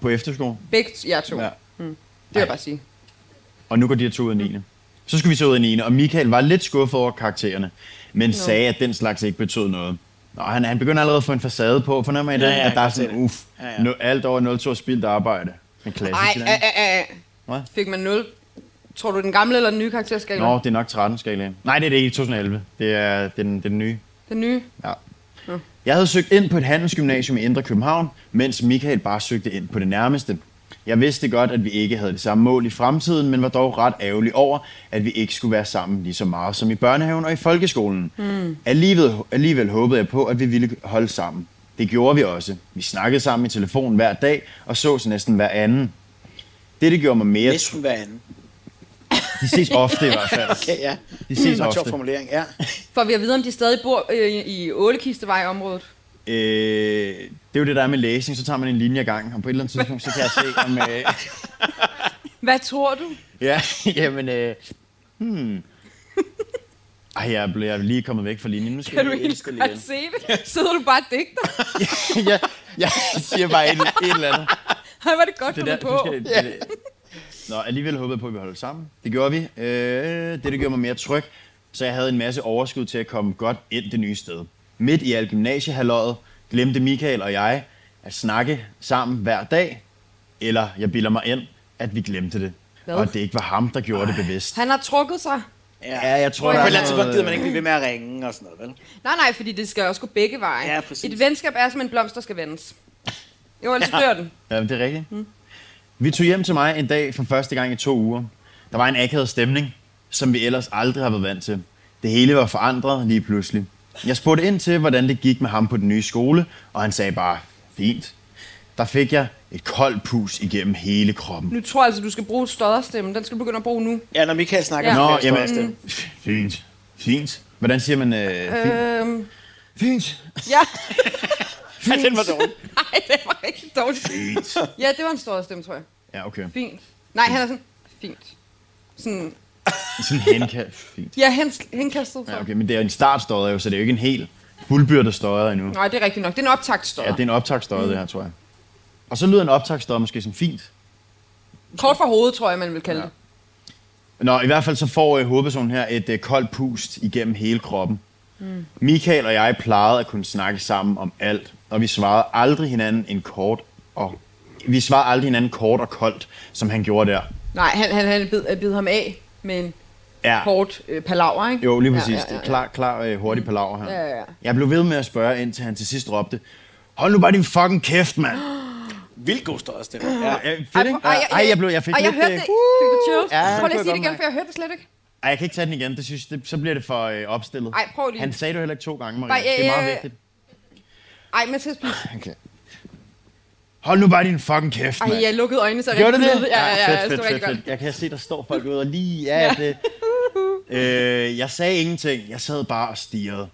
S4: på efterskole.
S5: Begge jer to.
S4: Ja.
S5: Ja. Mm. Det vil jeg bare sige.
S4: Og nu går de her to ud af 9. Så skulle vi så ud af 9. Og Michael var lidt skuffet over karaktererne, men no. sagde, at den slags ikke betød noget. Og han, han begynder allerede at få en facade på, fornemmer I det?
S6: Ja, ja,
S4: at der er
S6: jeg kan
S4: sådan,
S6: se det.
S4: uff,
S6: Ja,
S4: ja,
S6: ja.
S4: ja. alt over 0,2 spildt arbejde. En
S5: Ej,
S4: klassisk.
S5: ej,
S4: Ej,
S5: ej, ej.
S4: Hvad?
S5: Fik man 0? Tror du, den gamle eller den nye karakterskala?
S4: Nå, det er nok 13 skalaen. Nej, det er det ikke. 2011. Det er det er den, det er den nye.
S5: Den nye?
S4: Ja. Jeg havde søgt ind på et handelsgymnasium i Indre København, mens Michael bare søgte ind på det nærmeste. Jeg vidste godt, at vi ikke havde det samme mål i fremtiden, men var dog ret ærgerlig over, at vi ikke skulle være sammen lige så meget som i børnehaven og i folkeskolen. Mm. Alligevel, alligevel håbede jeg på, at vi ville holde sammen. Det gjorde vi også. Vi snakkede sammen i telefon hver dag og sås næsten hver anden. Dette gjorde mig mere...
S6: Næsten hver anden.
S4: De ses ofte i hvert fald.
S6: Ja, ja.
S4: De ses
S6: Det var en sjov
S4: ofte.
S6: formulering, ja.
S5: For vi at vide, om de stadig bor øh, i 8 kistevej-området.
S4: Øh, det er jo det, der er med læsning. Så tager man en linje ad gangen, og på et eller andet tidspunkt, så kan jeg se, om... Øh,
S5: Hvad tror du?
S4: Ja, jamen, øh, hmm. Ej, jeg er, ble- jeg er lige kommet væk fra linjen. Nu skal
S5: Kan du
S4: jeg lige
S5: ikke
S4: indstille
S5: godt se det? Sidder du bare og digter?
S4: igen. ja, jeg siger bare et, et eller andet.
S5: Ej, var det godt,
S4: Det
S5: det der,
S4: der,
S5: på.
S4: du skal, det, det. Nå, alligevel håbede jeg på, at vi holdt sammen. Det gjorde vi. Øh, det, det gjorde mig mere tryg, så jeg havde en masse overskud til at komme godt ind det nye sted. Midt i al gymnasiehalløjet glemte Michael og jeg at snakke sammen hver dag. Eller jeg bilder mig ind, at vi glemte det.
S5: Hvad?
S4: Og at det ikke var ham, der gjorde det bevidst.
S5: Han har trukket sig.
S4: Ja, jeg tror,
S6: På
S4: der
S6: et
S4: er
S6: eller andet tidspunkt
S4: noget-
S6: gider man ikke blive ved med at ringe og sådan noget, vel?
S5: Nej, nej, fordi det skal også gå begge veje.
S6: Ja, præcis.
S5: Et venskab er som en blomst, der skal vendes. Jo, ellers dør den.
S4: Ja, men det er rigtigt. Vi tog hjem til mig en dag for første gang i to uger. Der var en akavet stemning, som vi ellers aldrig har været vant til. Det hele var forandret lige pludselig. Jeg spurgte ind til, hvordan det gik med ham på den nye skole, og han sagde bare, fint. Der fik jeg et koldt pus igennem hele kroppen.
S5: Nu tror jeg altså, du skal bruge stodderstemmen. Den skal du begynde at bruge nu.
S6: Ja, når Michael snakker
S5: Ja.
S6: ja.
S4: Nå,
S6: om
S4: jamen,
S6: det,
S4: mm. fint, fint. Hvordan siger man øh, fint?
S5: Øhm,
S4: Fint,
S5: ja.
S6: ja, den var dårlig.
S5: Nej, det var rigtig dårligt.
S4: fint.
S5: Ja, det var en stodderstemme, tror jeg.
S4: Ja, okay.
S5: Fint. Nej, han er sådan, fint. Sådan,
S4: Sådan henkast. Fint.
S5: ja, hens- henkastet, tror
S4: Ja,
S5: jeg.
S4: okay, men det er en startstod, jo, så det er jo ikke en hel. fuldbyrdet støjer endnu.
S5: Nej, det er rigtigt nok. Det er en optagtstøj.
S4: Ja, det er en optagsstøjer, mm. det her, tror jeg. Og så lyder en optagsstøjer måske som fint.
S5: Kort for hovedet, tror jeg, man vil kalde ja. det.
S4: Nå, i hvert fald så får øh, hovedpersonen her et øh, koldt pust igennem hele kroppen. Mm. Michael og jeg plejede at kunne snakke sammen om alt, og vi svarede aldrig hinanden en kort og vi svarede aldrig hinanden kort og koldt, som han gjorde der.
S5: Nej, han, han, han bid, bid ham af med en
S4: Ja.
S5: kort øh, palaver, ikke?
S4: Jo, lige
S5: Ja,
S4: præcis.
S5: ja, ja.
S4: Det er klar, klar øh, hurtig palaver her.
S5: Ja, ja, ja.
S4: Jeg blev ved med at spørge, indtil han til sidst råbte, hold nu bare din fucking kæft, mand.
S6: Vildt god støj stemme. Ja.
S4: Ja, fedt,
S5: Ej,
S4: ikke?
S5: ej, ej,
S4: Ej, jeg, blev, jeg fik
S5: Ej, jeg
S4: lidt...
S5: hørte
S4: øh,
S5: det. Fik du chills?
S4: Ja, det
S5: prøv lige at
S4: kunne
S5: sige
S4: jeg
S5: det
S4: godt
S5: igen, for jeg hørte det slet ikke.
S4: Ej, jeg kan ikke tage den igen. Det synes, det, så bliver det for øh, opstillet.
S5: Ej, prøv lige.
S4: Han sagde det jo heller ikke to gange, Maria.
S5: Bare,
S4: det er
S5: øh,
S4: meget vigtigt.
S5: Ej, Mathias, please.
S4: Okay. Hold nu bare din fucking kæft, mand.
S5: Ej, jeg lukkede øjnene så rigtig
S4: Gjorde det det? Ah,
S5: tidligt. Ja, ja, ja, det
S4: fedt, fedt,
S5: stod rigtig
S4: fedt,
S5: godt.
S4: fedt. Jeg kan se, der står folk ude og lige... Ja, det. Øh, jeg sagde ingenting. Jeg sad bare og stirrede.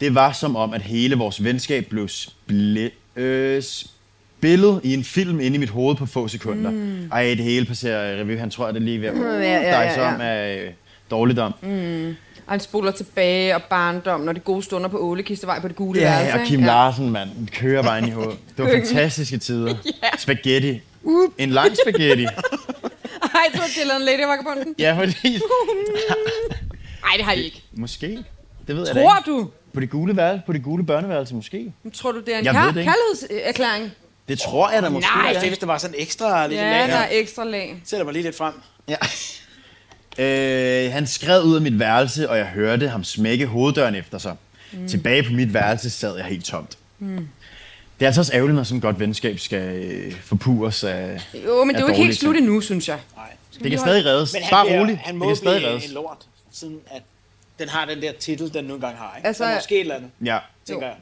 S4: Det var som om, at hele vores venskab blev spli- øh, spillet i en film inde i mit hoved på få sekunder. Mm. Ej, det hele passerer øh, revy. Han tror, at det er lige ved at uh,
S5: ja, ja, ja.
S4: dig som af øh, dårligdom. Mm.
S5: Og han spoler tilbage og barndom, når de gode stunder på Ålekistevej på det gule
S4: Ja,
S5: værelse.
S4: ja, og
S5: ikke?
S4: Kim ja. Larsen, mand. Den Kører bare ind i hovedet. Det var fantastiske tider. Spaghetti. Uh, en lang spaghetti.
S5: Ej, jeg troede, de lavede en ladybug på den.
S4: ja, fordi...
S5: Ej, det har I ikke.
S4: Måske. Det ved jeg da
S5: Tror
S4: ikke.
S5: du?
S4: På det gule, værelse, på det gule børneværelse, måske.
S5: Tror du, det er en
S4: Jeg ved
S5: kær-
S4: det ikke.
S5: kærlighedserklæring?
S4: Det tror jeg da måske.
S6: Ej,
S5: Nej.
S6: det er, hvis der var sådan en ekstra lille
S5: Ja,
S6: ja,
S5: der
S6: lag.
S5: er ekstra lag.
S6: Sætter mig lige lidt frem.
S4: Ja. Øh, han skred ud af mit værelse, og jeg hørte ham smække hoveddøren efter sig. Mm. Tilbage på mit værelse sad jeg helt tomt. Mm. Det er altså også ærgerligt, når sådan et godt venskab skal øh, forpures af
S5: Jo, men det er jo ikke helt
S4: dårlige
S5: slut
S4: ting.
S5: endnu, synes jeg.
S4: Det kan stadig reddes.
S6: Men han
S4: Bare
S6: bliver,
S4: roligt.
S6: han
S4: Det
S6: må
S4: kan stadig
S6: blive en
S4: reddes.
S6: lort, siden at den har den der titel, den nu engang har. Ikke?
S5: Altså-
S6: Altså, så måske et eller andet,
S4: Ja.
S6: tænker jeg.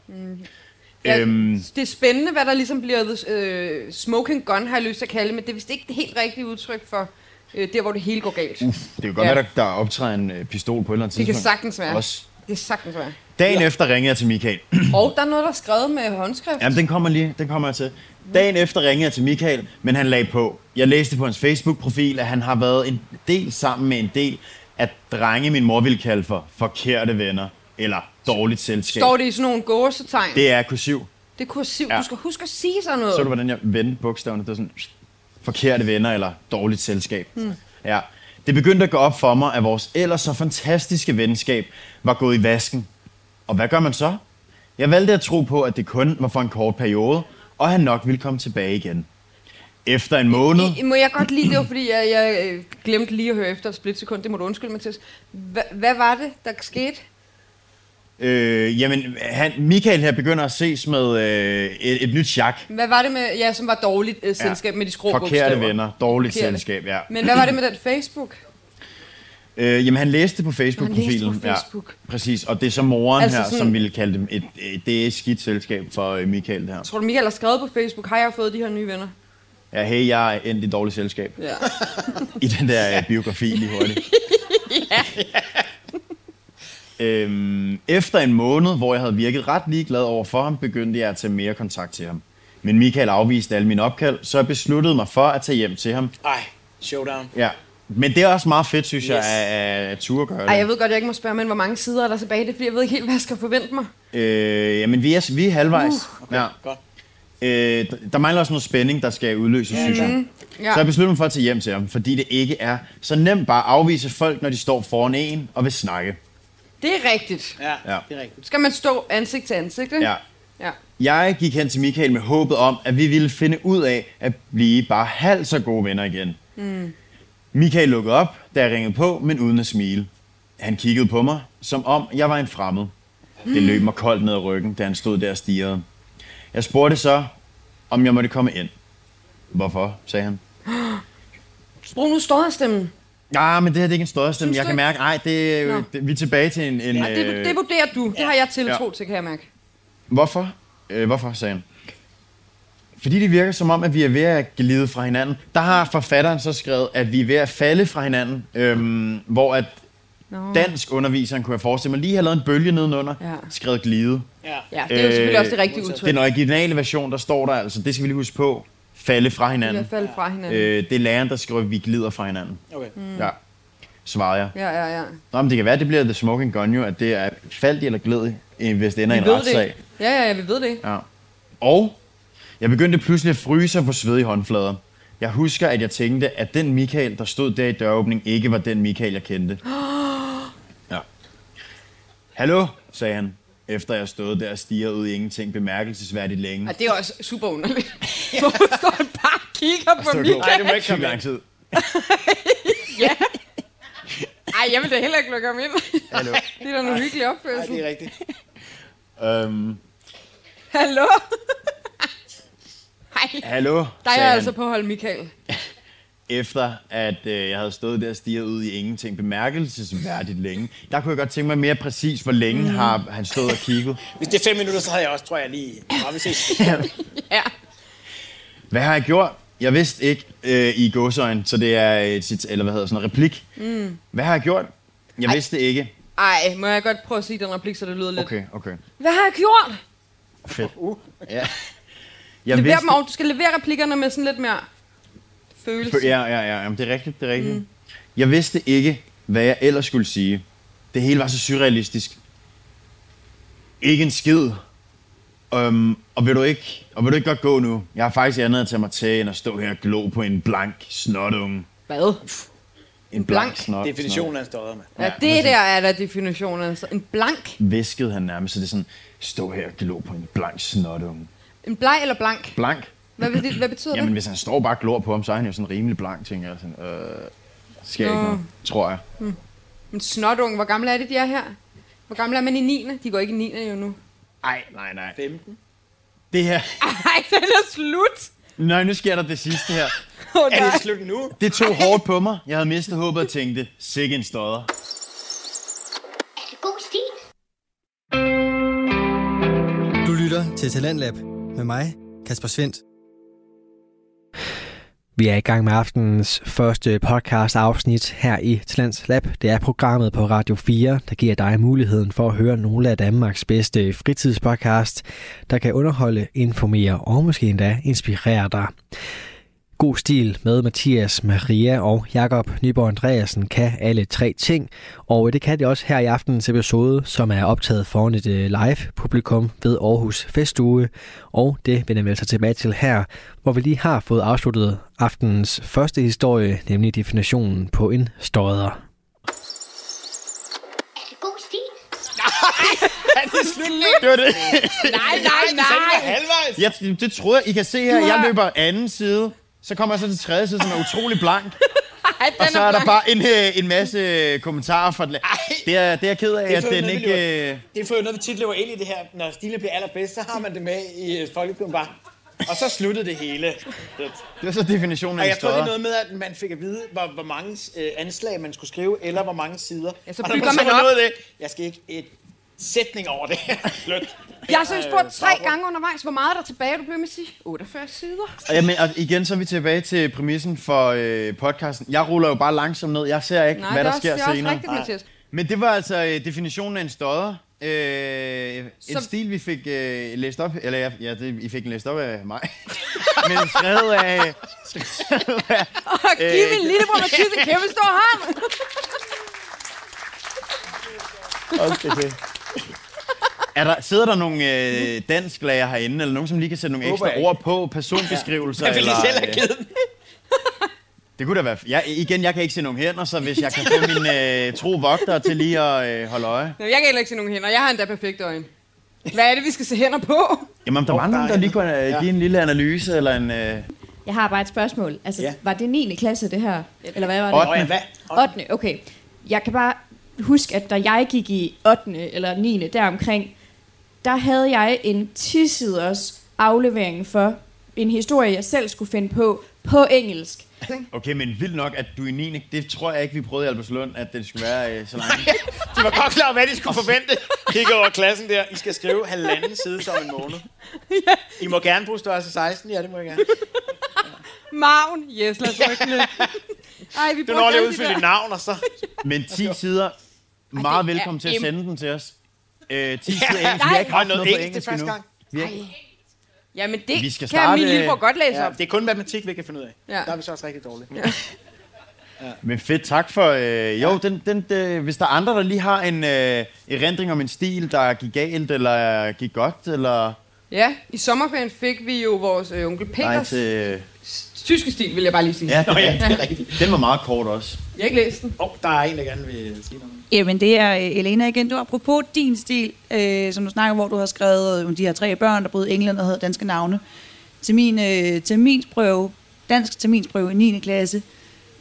S5: Ja,
S4: Øhm,
S5: Det er spændende, hvad der ligesom bliver øh, smoking gun, har jeg lyst til at kalde det, men det er vist ikke det helt rigtige udtryk for øh, der, hvor det hele går galt.
S4: uff, det kan godt
S5: Ja.
S4: være, der, der optræder en øh, pistol på et eller andet
S5: det kan
S4: tidspunkt.
S5: sagtens være.
S4: Også.
S5: Det kan sagtens være.
S4: Dagen efter ringede jeg til Michael.
S5: Og der er noget, der er skrevet med håndskrift.
S4: Jamen, den kommer lige. Den kommer jeg til. Dagen efter ringede jeg til Michael, men han lagde på. Jeg læste på hans Facebook-profil, at han har været en del sammen med en del af drenge, min mor ville kalde for forkerte venner eller dårligt selskab.
S5: Står det i sådan nogle gåsetegn? Det,
S4: Det er kursiv.
S5: det er kursiv.
S4: Ja.
S5: Du skal huske at sige sådan noget.
S4: Så du, hvordan jeg vendte bogstaverne? Det var sådan, forkerte venner eller dårligt selskab. Hmm. Ja. Det begyndte at gå op for mig, at vores ellers så fantastiske venskab var gået i vasken. Og hvad gør man så? Jeg valgte at tro på, at det kun var for en kort periode, og han nok ville komme tilbage igen. Efter en måned...
S5: I, må jeg godt lide det, var, fordi jeg, jeg øh, glemte lige at høre efter et splitsekund. Det må du undskylde, Mathias. Hva, hvad var det, der skete?
S4: Øh, jamen, han, Michael her begynder at ses med øh, et, et nyt chak.
S5: Hvad var det med, ja, som var dårligt øh, selskab med de skrå
S4: Forkerte
S5: bogstaver?
S4: venner, dårligt
S5: Forkerte.
S4: selskab, ja.
S5: Men hvad var det med den Facebook?
S4: Øh, jamen, han læste på
S5: Han
S4: Facebook-profilen.
S5: læste på Facebook.
S4: Ja, præcis, og det er så moren
S5: Altså
S4: altså her,
S5: sådan-
S4: sådan... som ville kalde dem et, et, det er et skidt selskab for øh, Michael her.
S5: Tror du, Michael har skrevet på Facebook, har jeg fået de her nye venner?
S4: Ja, hey, jeg er endt i dårligt selskab.
S5: Ja.
S4: I den der øh, biografi lige hurtigt. øhm, efter en måned, hvor jeg havde virket ret ligeglad over for ham, begyndte jeg at tage mere kontakt til ham. Men Michael afviste alle mine opkald, så jeg besluttede mig for at tage hjem til ham.
S6: Ej, showdown.
S4: Ja. Men det er også meget fedt, synes yes. jeg,
S6: Yes.
S4: at, at, at turde gøre det.
S5: Ej, jeg ved godt, jeg ikke må spørge, men hvor mange sider er der tilbage? Det er fordi, jeg ved ikke helt, hvad jeg skal forvente mig.
S4: Øh, jamen, vi er, vi er halvvejs. Uh, okay. ja.
S6: Godt.
S4: Øh, d- der mangler også noget spænding, der skal udløses, mm-hmm. synes jeg.
S5: Ja.
S4: Ja. Så jeg besluttede mig for at tage hjem til ham, fordi det ikke er så nemt bare at afvise folk, når de står foran en og vil snakke.
S5: Det er rigtigt.
S6: Ja,
S4: Ja.
S6: ja, det er rigtigt.
S5: Skal man stå ansigt til ansigt, ikke?
S4: Ja.
S5: ja.
S4: Jeg gik hen til Michael med håbet om, at vi ville finde ud af at blive bare halvt så gode venner igen. Mm. Michael lukkede op, da jeg ringede på, men uden at smile. Han kiggede på mig, som om jeg var en fremmed. Det løb mig koldt ned ad ryggen, da han stod der og stirrede. Jeg spurgte så, om jeg måtte komme ind. Hvorfor, sagde han.
S5: Brug nu stodderstemmen.
S4: Nej, Ah, men det her det er ikke en stødstemme.
S5: Synes du
S4: Jeg kan
S5: ikke?
S4: mærke, ej, det,
S5: Nå.
S4: er- det, vi er tilbage til en... øh, en
S5: Ja, det, det vurderer du. Det har jeg tiltro ja. til, kan jeg mærke.
S4: Hvorfor? Øh, hvorfor, sagde han. Fordi det virker som om, at vi er ved at glide fra hinanden. Der har forfatteren så skrevet, at vi er ved at falde fra hinanden, øhm, hvor at
S5: Nå.
S4: dansk underviseren, kunne jeg forestille mig, lige har lavet en bølge nedenunder,
S5: Mm. Ja.
S4: ja. skrevet glide.
S6: Ja.
S5: Ja, det er jo selvfølgelig
S4: Øh,
S5: også det rigtige udtryk.
S4: Den originale version, der står der altså, det skal vi lige huske på, falde fra
S5: I
S4: hinanden.
S5: hvert fald fra hinanden.
S4: Øh, det er læreren, der skriver, at vi glider fra hinanden.
S6: Okay.
S5: Mm.
S4: Ja, svarede jeg.
S5: Ja, ja, ja.
S4: Nå, men det kan være, det bliver The Smoking Gun jo, at det er faldt i eller gled i. øh, hvis det ender i en
S5: Vi ved
S4: retssag.
S5: det. Ja, ja, ja, vi ved det.
S4: Ja. Og jeg begyndte pludselig at fryse og få sved i håndflader. Jeg husker, at jeg tænkte, at den Michael, der stod der i døråbningen, ikke var den Michael, jeg kendte. Ja. Hallo, sagde han, efter jeg stod der og stirrede ud i ingenting bemærkelsesværdigt længe.
S5: Og det er også super underligt. Hvorfor står han bare og kigger på
S4: Så
S5: Michael?
S4: Nej, det må ikke komme lang tid.
S5: Ja. Ej, jeg vil da heller ikke lukke ham ind.
S4: Hallo.
S5: Det er da en hyggelig
S6: Nej,
S5: opførsel.
S6: det er rigtigt.
S4: Øhm,
S5: Hallo? Hej.
S4: hallo,
S5: Der er
S4: sagde
S5: jeg
S4: han,
S5: altså på hold, Michael.
S4: efter at øh, jeg havde stået der og stirret ud i ingenting bemærkelsesværdigt længe. Der kunne jeg godt tænke mig mere præcis, hvor længe mm. har han stået og kigget.
S6: Hvis det er fem minutter, så havde jeg også, tror jeg, lige... Nå, vi ses.
S5: Ja.
S4: Hvad har jeg gjort? Jeg vidste ikke øh, i gåsøjne, så det er et sit, eller hvad hedder sådan en replik. Mm. Hvad har jeg gjort? Jeg Ej. vidste ikke.
S5: Ej, må jeg godt prøve at sige den replik, så det lyder lidt.
S4: Okay, okay.
S5: Hvad har jeg gjort?
S4: Fedt. Uh. Ja. Jeg
S5: Lever
S4: vidste...
S5: dem over. Du skal levere replikkerne med sådan lidt mere følelse.
S4: Ja, ja, ja. Jamen, det er rigtigt, det er rigtigt. Mm. Jeg vidste ikke, hvad jeg ellers skulle sige. Det hele var så surrealistisk. Ikke en skid. Um, og, vil du ikke, og vil du ikke godt gå nu? Jeg har faktisk andet at tage mig til, end at stå her og glo på en blank snotunge.
S5: Hvad?
S4: En
S5: blank
S4: snot.
S6: Definitionen af en stodder, mand.
S5: Ja, det der er der definitionen. Altså. En blank.
S4: væskede han nærmest, så det er sådan, stå her og glor på en blank snotunge.
S5: En bleg eller blank?
S4: Blank?
S5: Hvad, vil det, hvad betyder
S4: Jamen,
S5: det?
S4: hvis han står og bare og glor på ham, så er han jo sådan rimelig blank, tænker jeg. Sådan, øh, skal jeg ikke
S5: Nå.
S4: noget, tror jeg.
S5: En snotunge. Hvor gamle er det, de er her? Hvor gamle er man i 9. De går ikke i 9. jo nu.
S4: Ej, nej, nej.
S6: 15.
S4: Det her,
S5: Ej, den er slut.
S4: nej, nu sker der det sidste her.
S5: Åh, oh,
S6: Er
S5: nej.
S6: det slut nu?
S4: Det tog hårdt på mig. Jeg havde mistet håbet og tænkte, sikke en stodder.
S2: Er det god stil?
S8: Du lytter til Talentlab med mig, Kasper Svendt.
S1: Vi er i gang med aftenens første podcast afsnit her i Talents Lab. Det er programmet på Radio 4, der giver dig muligheden for at høre nogle af Danmarks bedste fritidspodcast, der kan underholde, informere og måske endda inspirere dig. God stil med Mathias, Maria og Jakob Nyborg Andreasen kan alle tre ting, og det kan de også her i aftenens episode, som er optaget foran et øh, live-publikum ved Aarhus Festuge, og det vender vi altså tilbage til her, hvor vi lige har fået afsluttet aftenens første historie, nemlig definitionen på en stodder.
S2: Er det god stil?
S4: Det var det.
S5: Nej, nej, nej.
S6: Halvvejs.
S4: Jeg, det troede jeg. I kan se her, jeg løber anden side. Så kommer jeg så til tredje side, som er utrolig blank.
S5: Ej, den
S4: Og så
S5: er
S4: er der
S5: blank.
S4: bare en, øh, en masse kommentarer fra... Det er, det er jeg ked af, at
S6: for
S4: den
S6: noget, vi
S4: ikke... øh,
S6: Det er for noget, vi tit løber ind i det her. Når stilen bliver allerbedst, så har man det med i øh, folkeklubben bare. Og så sluttede det hele.
S4: Det var så definitionen af
S6: Og
S4: en
S6: jeg tror, det er
S4: stodder.
S6: noget med, at man fik at vide, hvor, hvor mange øh, anslag man skulle skrive, eller hvor mange sider.
S5: Ja, så
S6: Og når
S5: bygger man
S6: så var
S5: op.
S6: noget af det. Jeg skal ikke et sætning over det her. Slut.
S5: Jeg har så spurgt tre
S6: baggrund.
S5: gange undervejs, hvor meget er der tilbage, du blev med at sige 48 sider.
S4: Og Jamen, og igen så er vi tilbage til præmissen for øh, podcasten. Jeg ruller jo bare langsomt ned. Jeg ser ikke,
S5: Nej,
S4: hvad
S5: det
S4: der
S5: er også,
S4: sker
S5: det er også
S4: senere.
S5: rigtigt, Mathias.
S4: Men det var altså øh, definitionen af en stodder. Øh, en
S5: Som-
S4: stil, vi fik øh, læst op, eller ja, ja det, I fik den læst op af mig, men skrevet af, skrevet af
S5: Og giv
S4: Øh,
S5: min lille bror Mathias en kæmpe stor hånd.
S4: er der, sidder der nogle øh, dansklærer herinde, eller nogen, som lige kan sætte nogle
S6: Håber
S4: ekstra
S6: jeg
S4: ord på, personbeskrivelser?
S6: Jeg ville
S4: eller,
S6: selv
S4: øh,
S6: have givet den.
S4: Det kunne da være... Jeg, igen, jeg kan ikke se nogen hænder, så hvis jeg kan få min øh, tro vogter til lige at øh, holde øje.
S5: Nå, jeg kan heller ikke se nogen hænder. Jeg har endda perfekte øjne. Hvad er det, vi skal se hænder på?
S4: Jamen, der var nogen, der lige kunne øh, give en lille analyse, eller en... Øh,
S9: Jeg har bare et spørgsmål. Altså,
S6: Ja.
S9: ja. var det 9. klasse, det her? Eller hvad var det?
S6: Nå ja, hvad?
S9: 8. okay. Jeg kan bare huske, at da jeg gik i 8. eller 9. deromkring, der havde jeg en 10-siders aflevering for en historie, jeg selv skulle finde på på engelsk.
S4: okay, men vildt nok, at du er 9. Det tror jeg ikke, vi prøvede i Albertslund, at den skulle være øh, så lang.
S6: De var godt klar over, hvad de skulle forvente. Kigge over klassen der. I skal skrive halvanden side som en måned. I må gerne bruge størrelse 16. altså Ja, det må jeg gerne.
S5: Maven. Yes, lad os rykke lidt. Ej, vi
S6: Du når
S5: bruger
S6: lige at
S5: alle de
S6: udfylde dit
S5: der.
S6: navn, og så...
S4: Men 10 sider. Meget
S5: det er
S4: velkommen til at
S5: em-
S4: sende den til os. Øh, 10 sider engelsk. Vi har ikke
S6: Og
S4: haft
S6: noget
S4: noget på
S6: engelsk det er
S4: engelsk
S6: første
S4: endnu.
S6: gang.
S5: Jamen det
S4: Vi
S5: kan
S4: skal starte-
S5: min lillebror godt læse
S6: Ja,
S5: op.
S6: det er kun matematik, vi kan finde ud af.
S5: Ja.
S6: Der er vi så også rigtig dårlige.
S4: Men fedt, tak for... Øh, jo, den, den, øh, hvis der er andre, der lige har en øh, erindring om en stil, der gik galt, eller gik godt, eller...
S5: Ja, i sommerferien fik vi jo vores øh, onkel
S4: Nej,
S5: Peters
S4: til... Øh,
S5: tyske stil, vil jeg bare lige sige.
S4: ja, Nå, ja, det er rigtigt. Den var meget kort også.
S5: Jeg har ikke læst den.
S6: Åh, oh, der er en, der gerne vil sige noget.
S7: Jamen, det er øh, Elena igen. Du, apropos din stil, øh, som du snakker, hvor du har skrevet øh, om de her tre børn, der boede i England og havde danske navne. Til min øh, terminsprøve, dansk terminsprøve i 9. klasse,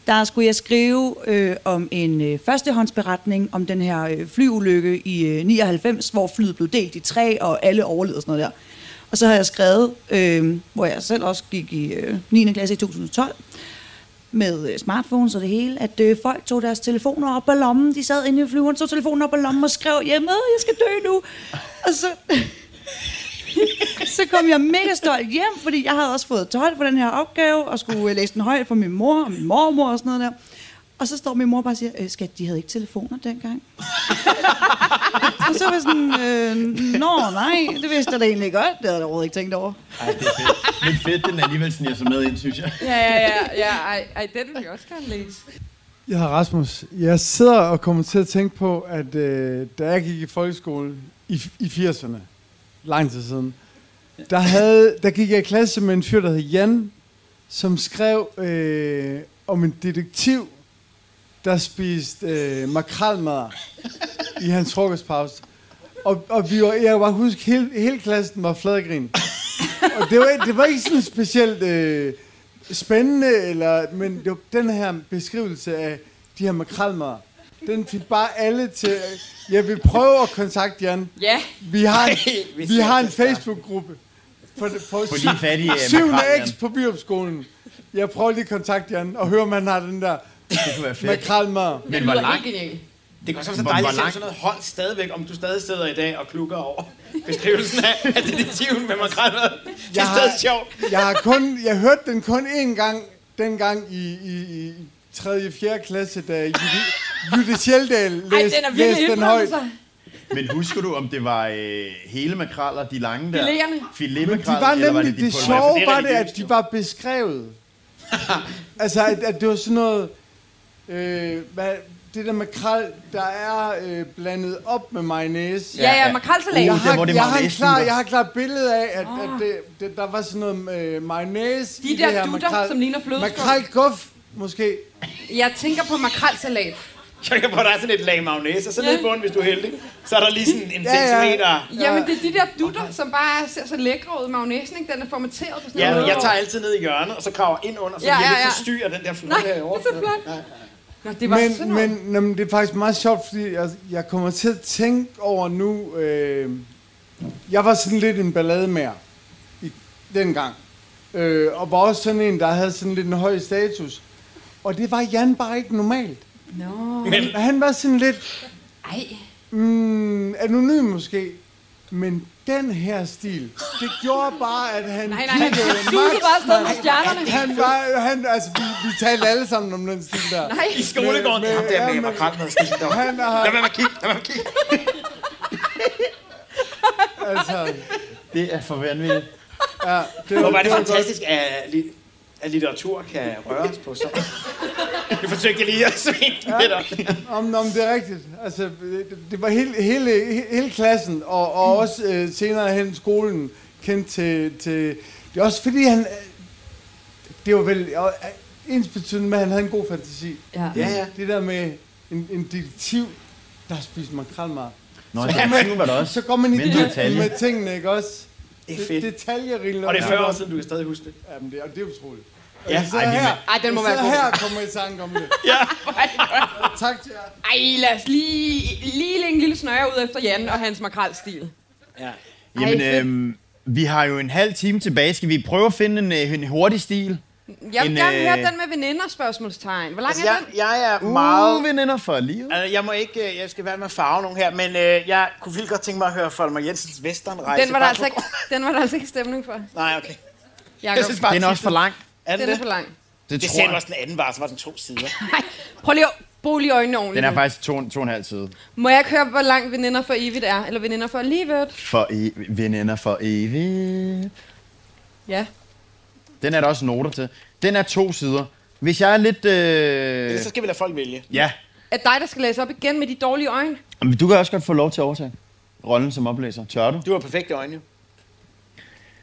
S7: der skulle jeg skrive øh, om en øh, førstehåndsberetning om den her øh, flyulykke i øh, 99, hvor flyet blev delt i tre, og alle overlevede og sådan noget der. Og så har jeg skrevet, øh, hvor jeg selv også gik i øh, 9. klasse i 2012, med øh, smartphones og det hele, at øh, folk tog deres telefoner op af lommen. De sad inde i flyveren, tog telefonen op af lommen og skrev, jamen, jeg skal dø nu. Og så, så kom jeg mega stolt hjem, fordi jeg havde også fået 12 på den her opgave, og skulle øh, læse den højt for min mor og min mormor og sådan noget der. Og så står min mor bare og siger, øh, skat, de havde ikke telefoner dengang. og så var jeg sådan, øh, nå nej, det vidste jeg da egentlig godt, det havde jeg da overhovedet ikke tænkt over.
S4: Ej, det er fedt. Men fedt, den alligevel sniger sig med ind, synes jeg.
S5: Ja, ja, ja, ja ej, ej, den vil jeg også gerne læse.
S10: Jeg hedder Rasmus. Jeg sidder og kommer til at tænke på, at øh, da jeg gik i folkeskole i, i 80'erne, lang tid siden, der, havde, der gik jeg i klasse med en fyr, der hed Jan, som skrev øh, om en detektiv, der spiste øh, makrelmad i hans frokostpause. Og, og vi var, jeg kan bare huske, hele, hele klassen var fladgrin. Og det var, det var ikke sådan specielt øh, spændende, eller, men det var den her beskrivelse af de her makrelmader, den fik bare alle til... øh, Jeg vil prøve at kontakte Jan.
S5: Ja,
S10: Vi har en,
S6: Ej, vi altså
S10: vi
S6: ser
S10: har en
S6: det snart.
S10: Facebook-gruppe for, for, for
S4: lige fattige, øh,
S10: syvende
S4: makrel,
S10: X på Byrupskolen. Jeg prøver lige at kontakte Jan og høre, om han har den der
S4: Det kunne være fedt.
S10: makrelmad.
S4: Men
S5: lyder
S4: hvor
S5: helt
S4: langt?
S5: genialt.
S6: Det kan også være så
S4: Hvor- hvor
S6: dejligt at se
S4: langt-
S6: sådan noget hånd stadigvæk, om du stadig sidder i dag og klukker over beskrivelsen af, af detektiven med makrelmad. Det er
S10: Jeg
S6: stadig
S10: har-
S6: sjovt.
S10: Jeg, har kun, jeg hørte den kun én gang, dengang i, i, i 3. og 4. klasse, da Jytte- Jytte Sjeldal
S5: Ej,
S10: læste
S5: den er
S10: læste
S5: virkelig altså.
S10: den højt.
S5: indblandet sig.
S4: Men husker du, om det var øh, hele makraller, de lange der?
S5: Filererne.
S10: Men de var
S4: Filetmakraller, eller var
S10: nemlig,
S4: det
S10: det,
S4: de
S10: det
S4: pulver?
S10: sjove
S6: det er
S10: var det,
S6: religiøst,
S10: at de var beskrevet. altså, at, at det var sådan noget... Øh, hvad, det der makrel, der er øh, blandet op med mayonnaise.
S5: Ja, ja,
S4: ja.
S5: makrelsalat.
S10: Jeg
S4: der, hvor
S10: har,
S4: det er
S10: jeg, har en
S4: mayonnaisen,
S10: klar,
S4: der-
S10: jeg har et klart billede af, at, at det, det, der var sådan noget øh, mayonnaise
S5: De
S10: i
S5: der
S10: det her
S5: dutter,
S10: makrel.
S5: som ligner flødeskum.
S10: Makrelguf, måske.
S5: Jeg tænker på makrelsalat.
S6: Jeg kan på, der er sådan et lag mayonnaise, og så nede i
S5: Ja.
S6: bunden, hvis du er heldig, så er der lige sådan en
S10: Ja, ja.
S6: centimeter.
S5: Jamen, det er de der dutter, som bare er- ser så lækre ud. Magnesen, ikke? Den er formateret på sådan
S6: Ja,
S5: noget.
S6: jeg tager altid ned i hjørnet, og så kraver ind under, så
S5: Ja,
S6: ja, jeg
S5: ja,
S6: ikke
S5: ja.
S6: forstyrrer den der
S5: Nej,
S6: flot
S5: det er
S6: herovre.
S5: så flot. Nå, det var sådan
S10: Men,
S5: noget.
S10: men, jamen, det er faktisk meget sjovt, fordi jeg, jeg kommer til at tænke over nu... Øh, jeg var sådan lidt en ballademager i, dengang. Øh, og var også sådan en, der havde sådan lidt en høj status. Og det var Jan bare ikke normalt. No. Men. Han var sådan lidt... Ej. Mm, anonym måske. Men den her stil, det gjorde bare, at han
S5: Nej, nej, han
S10: kiggede
S5: susede bare afsted med stjernerne.
S10: han var, han, altså, vi, vi talte alle sammen om den stil der.
S5: Nej,
S6: I skolegården,
S10: Med-
S6: det er ham
S10: ja,
S6: der med
S10: men-
S6: makrelmad. skidt dog.
S10: Han
S6: Lad
S10: har,
S6: være med at kigge, lad være med at kigge.
S10: altså,
S4: Det er for vanvittigt.
S10: ja, det
S6: Hvor var
S10: var,
S6: det fantastisk, at, li- at litteratur kan røre os på sådan. Nu forsøgte jeg lige at svinge lidt op.
S10: om, om det er rigtigt. Altså, det, det var hele, hele, he- hele klassen, og, og også øh, senere hen skolen, kendt til, til... Det er også fordi, han... øh, Det var vel og, øh, ens betydende med, at han havde en god fantasi.
S9: Ja.
S6: Ja, ja.
S10: Det der med en, en detektiv, der spiste makrelmar.
S4: Nå, det var der også.
S10: Så går man i
S4: Men
S10: dybden
S4: detalje.
S10: med tingene, ikke også?
S6: Det er fedt.
S10: Detaljerigt.
S6: Og det er 40 år siden, du kan stadig huske det.
S10: Jamen, det er, det er utroligt.
S6: Ja,
S10: så
S4: ej, vi-
S10: her,
S5: Ej, den må
S10: så
S5: være god.
S10: her kommer I tanke om det. Tak til jer.
S5: Ej, lad os lige, lige lægge en lille snøre ud efter Jan og hans makrelstil.
S6: Ja.
S4: Jamen,
S5: fedt.
S4: øhm, vi har jo en halv time tilbage. Skal vi prøve at finde en, øh, en hurtig stil?
S5: Jeg vil
S4: En,
S5: gerne
S4: øh,
S5: høre den med veninder, spørgsmålstegn. Hvor lang
S6: Altså,
S5: er
S6: jeg,
S5: den?
S6: jeg er
S4: Meget
S6: meget...
S4: veninder for livet.
S6: Altså, jeg må ikke, øh, jeg skal være med at farve nogen her, men øh, jeg kunne vildt godt tænke mig at høre Folmer Jensens Westernrejse.
S5: Den var, der
S6: Bare
S5: altså ikke, den var der altså ikke stemning for.
S6: Nej, okay.
S5: Jacob,
S6: Jeg synes bare,
S4: Den er også for lang.
S6: Er den
S5: den er for
S6: det?
S5: lang.
S4: Det,
S6: Det
S4: tror
S6: selv
S4: jeg.
S6: var sådan en anden var, så var den to sider.
S5: Nej, prøv lige at bruge lige øjnene
S4: Den
S5: ordentligt.
S4: er faktisk to, to og en halv side.
S5: Må jeg ikke høre, hvor langt veninder for evigt er? Eller veninder for livet?
S4: For e- veninder for evigt.
S5: Ja.
S4: Den er der også noter til. Den er to sider. Hvis jeg er lidt... Øh...
S6: Ellers så skal vi lade folk vælge.
S4: Ja,
S5: Er dig, der skal læse op igen med de dårlige øjne?
S4: men du kan også godt få lov til at overtage rollen som oplæser. Tør du?
S6: Du har perfekte øjne.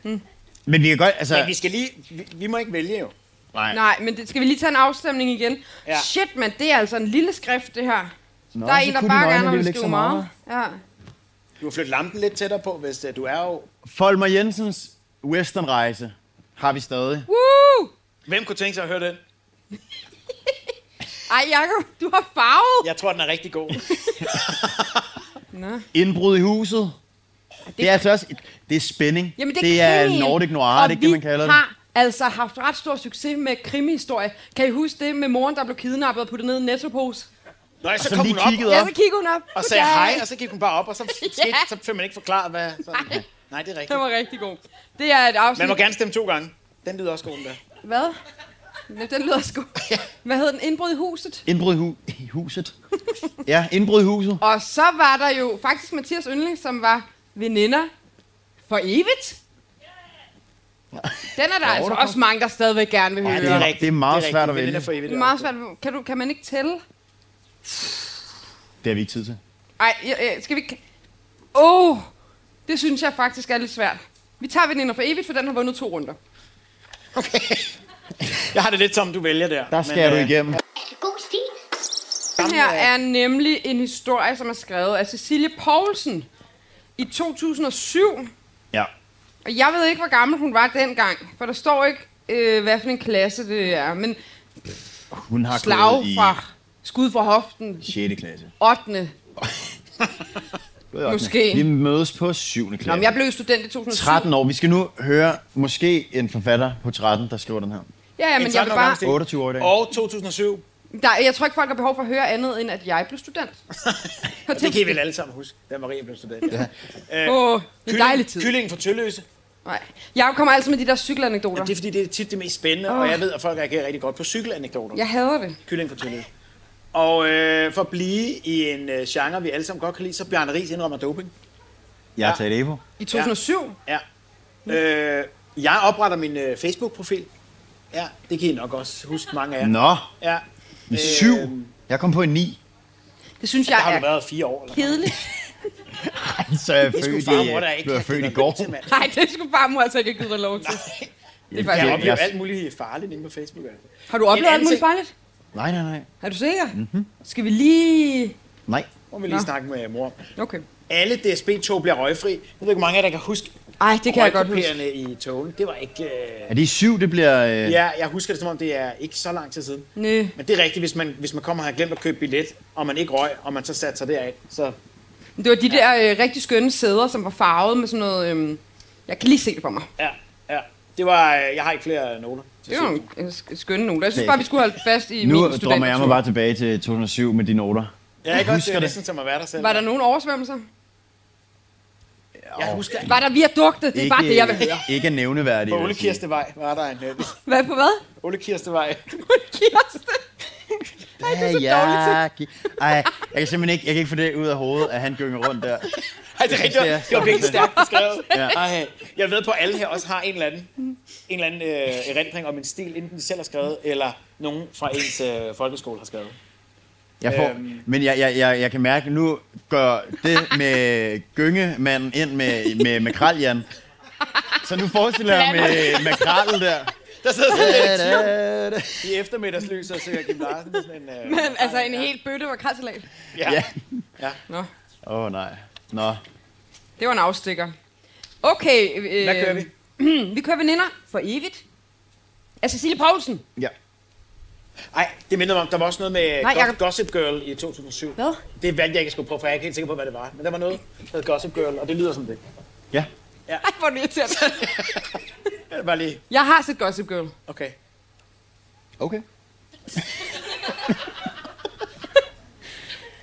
S6: jo.
S4: Men vi kan godt... Altså,
S6: Men vi skal lige... Vi, vi må ikke vælge jo.
S4: nej.
S5: Nej, men det, skal vi lige tage en afstemning igen?
S6: Ja.
S5: Ja. Shit, mand, det er altså en lille skrift, det her.
S4: Nå,
S5: Nå, der er
S4: så
S5: en, der
S4: kunne dine
S5: bare
S4: øjne
S5: gerne vil
S4: alligevel ikke
S5: skrive
S4: så
S5: meget. Ja.
S6: Du har flyttet lampen lidt tættere på, hvis øh, du er jo...
S4: Folmer Jensens westernrejse har vi stadig.
S5: Woo!
S6: Hvem kunne tænke sig at høre den?
S5: Ej, Jacob, du har farvet. Ja.
S6: Jeg tror, den er rigtig god.
S5: Nå.
S4: Indbrud i huset. Det, det er altså også... Det er spænding.
S5: Jamen, det,
S4: det er
S5: krimien,
S4: Nordic Noir, det er
S5: og
S4: ikke det, man kalder
S5: vi har altså haft ret stor succes med krimihistorie. Kan I huske det med moren, der blev kidnappet og puttet ned i en nettopose?
S6: Nå, ja, så,
S4: så
S6: kom
S4: lige
S6: hun op
S4: kiggede
S5: Ja,
S4: op.
S5: så kiggede hun op.
S6: og sagde
S5: Goddag.
S6: hej, og så gik hun bare op, og så, skete, så fik man ikke forklaret, hvad... Så, nej. nej, det er
S5: Den
S6: rigtigt.
S5: var rigtig god. Det er et afsnit.
S6: Man må gerne stemme to gange. Den lyder også god, den der.
S5: Hvad? Nå, Den lyder sgu. Hvad hed den? Indbrud i huset?
S4: det. Indbrud i, hu- i huset. ja, indbrud i huset.
S5: Og så var der jo faktisk Mathias Yndling, som var veninder for evigt. Den er der altså også mange, der stadigvæk gerne vil høre.
S4: det er rigtigt. Det er meget
S6: rigtigt.
S4: svært at
S6: Men den
S4: vælge.
S6: er for evigt,
S5: Det er meget svært. Kan, du, kan man ikke tælle?
S4: Det har vi ikke tid til.
S5: Ej, jeg- jeg- skal vi ikke... Åh, oh, det synes jeg faktisk er lidt svært. Vi tager veninder for evigt, for den har vundet to runder.
S6: Jeg har det lidt som, du vælger der.
S4: Der skal du
S6: øh,
S4: igennem.
S2: Er det god stil?
S5: Den her er nemlig en historie, som er skrevet af Cecilie Poulsen i 2007.
S4: Ja.
S5: Og jeg ved ikke, hvor gammel hun var dengang, for der står ikke, øh, hvad for en klasse det er, men
S4: Hun har
S5: slag
S4: gået i
S5: fra skud fra hoften,
S4: 6. klasse.
S5: 8. Måske.
S4: Vi mødes på 7. klasse.
S5: Nå, men jeg blev student i 2007.
S4: 13 år. Vi skal nu høre måske en forfatter på 13, der skriver den her.
S5: Ja, ja, men jeg vil bare...
S4: 28 år i dag.
S6: Og 2007.
S5: Der, jeg tror ikke, folk har behov for at høre andet, end at jeg blev student.
S6: Og det kan I vel alle sammen huske, da Maria blev student. Ja.
S5: Åh, en dejlig tid.
S6: Kyllingen fra Tølløse.
S5: Nej. Jeg kommer altid med de der
S6: Ja,
S5: cykelanekdoter.
S6: det er fordi, det er tit det mest spændende, oh. og jeg ved, at folk reagerer rigtig godt på cykelanekdoter.
S5: Jeg hader det.
S6: Kylling fra Tølløse. Og øh, for at blive i en øh, genre, vi alle sammen godt kan lide, så Bjarne Ries indrømmer doping.
S4: Jeg er taget Evo.
S5: I 2007?
S6: Ja. Øh, jeg opretter min øh, Facebook-profil. Ja, det kan I nok også huske mange af jer.
S4: Nå,
S6: Ja. øh,
S4: med 7.
S6: Øhm.
S4: Jeg kom på en 9.
S5: Det synes
S6: Der
S5: jeg
S6: har du
S5: er
S6: været fire år. Eller?
S5: kedeligt.
S4: Så Altså, jeg
S6: Det skulle
S4: født,
S6: far og mor, der
S4: i,
S6: ikke
S4: blev jeg
S6: kan give
S4: født i
S6: dig
S4: går.
S6: lov til, mand.
S5: Nej, det skulle farmor altså ikke have givet dig lov til. Det er faktisk
S6: Jeg
S4: Ja.
S5: ikke.
S6: oplever
S4: Jeg-
S6: alt muligt farligt inde på Facebook. altså.
S5: Har du oplevet
S6: En Mhm.
S5: alt muligt
S6: ansigt-
S5: farligt?
S4: Nej, nej, nej.
S5: Er du sikker? Skal vi lige...
S4: Nej.
S6: Må vi lige
S5: Nå.
S6: snakke med øh, mor om.
S5: Okay.
S6: Alle DSB-tog bliver røgfri. Jeg ved ikke, hvor mange af jer, der kan huske
S5: Ej, det kan jeg godt huske.
S6: røgkupéerne i togene. Det var ikke... Øh...
S4: Er det 7, det bliver... Øh...
S6: Ja, jeg husker det, som om det er ikke så lang tid siden.
S5: Næ.
S6: Men det er rigtigt, hvis man, hvis man kommer og har glemt at købe billet, og man ikke røg, og man så satte sig deraf, så
S5: Det var de der øh, rigtig skønne sæder, som var farvet med sådan noget... Øh, jeg kan lige se det for mig.
S6: ja, ja. Det var, øh, jeg har ikke flere noter. til
S5: Det var
S6: sidst.
S5: nogle øh, sk- skønne noter. Jeg synes bare, vi skulle holde fast i min
S4: Nu drømmer jeg mig
S5: studentertur.
S4: bare tilbage til 2007 med de noter.
S6: Ja, ikke også, det
S4: husker
S6: er
S4: det.
S6: næsten som at være der selv.
S5: Var der nogen oversvømmelser?
S6: Jeg husker, at
S5: Var der viadukter? Det er bare det, jeg vil høre.
S4: Ikke nævneværdigt.
S6: på Ole Kirstevej var der en... øh,
S5: Hvad på hvad?
S6: Ole Kirstevej.
S5: Kirsten.
S4: Ej, det er så dårligt Ej, jeg kan simpelthen ikke, jeg kan ikke få det ud af hovedet, at han gynger rundt der.
S6: Ej, det, er rigtigt, det, var, det var virkelig stærkt beskrevet.
S4: Ja.
S6: Ej, jeg ved på, at alle her også har en eller anden, en eller anden øh, erindring om en stil, enten de selv har skrevet, eller nogen fra ens øh, folkeskole har skrevet.
S4: Jeg får,
S6: Øhm.
S4: Men jeg, jeg, jeg, jeg kan mærke, nu gør det med gyngemanden ind med, med, med kraljan. Så nu forestiller jeg mig med, med krallen der.
S6: Der sidder sådan lidt
S4: Da, da.
S6: i eftermiddagslys og søger Kim Larsen. Sådan en, øh,
S5: Men altså en hel bøtte var krassalat.
S6: ja.
S4: Ja.
S5: Nå,
S4: Åh oh, nej. Nå.
S5: det var en afstikker. Okay. Øh,
S6: Hvad kører vi?
S5: Vi kører veninder for evigt. Af Cecilie Poulsen.
S4: Ja.
S6: Ej, det minder mig om, der var også noget med
S5: Nej,
S6: Nej,
S5: Jacob.
S6: Gossip Girl i 2007.
S5: Hvad?
S6: Det valgte jeg ikke at skulle prøve, for jeg er ikke helt sikker på, hvad det var. Men der var noget, der hed Gossip Girl, og det lyder som det.
S4: Ja.
S5: Ej, hvor er det irriterende.
S6: Det var lige,
S5: Jeg har set Gossip Girl.
S6: okay.
S4: Okay.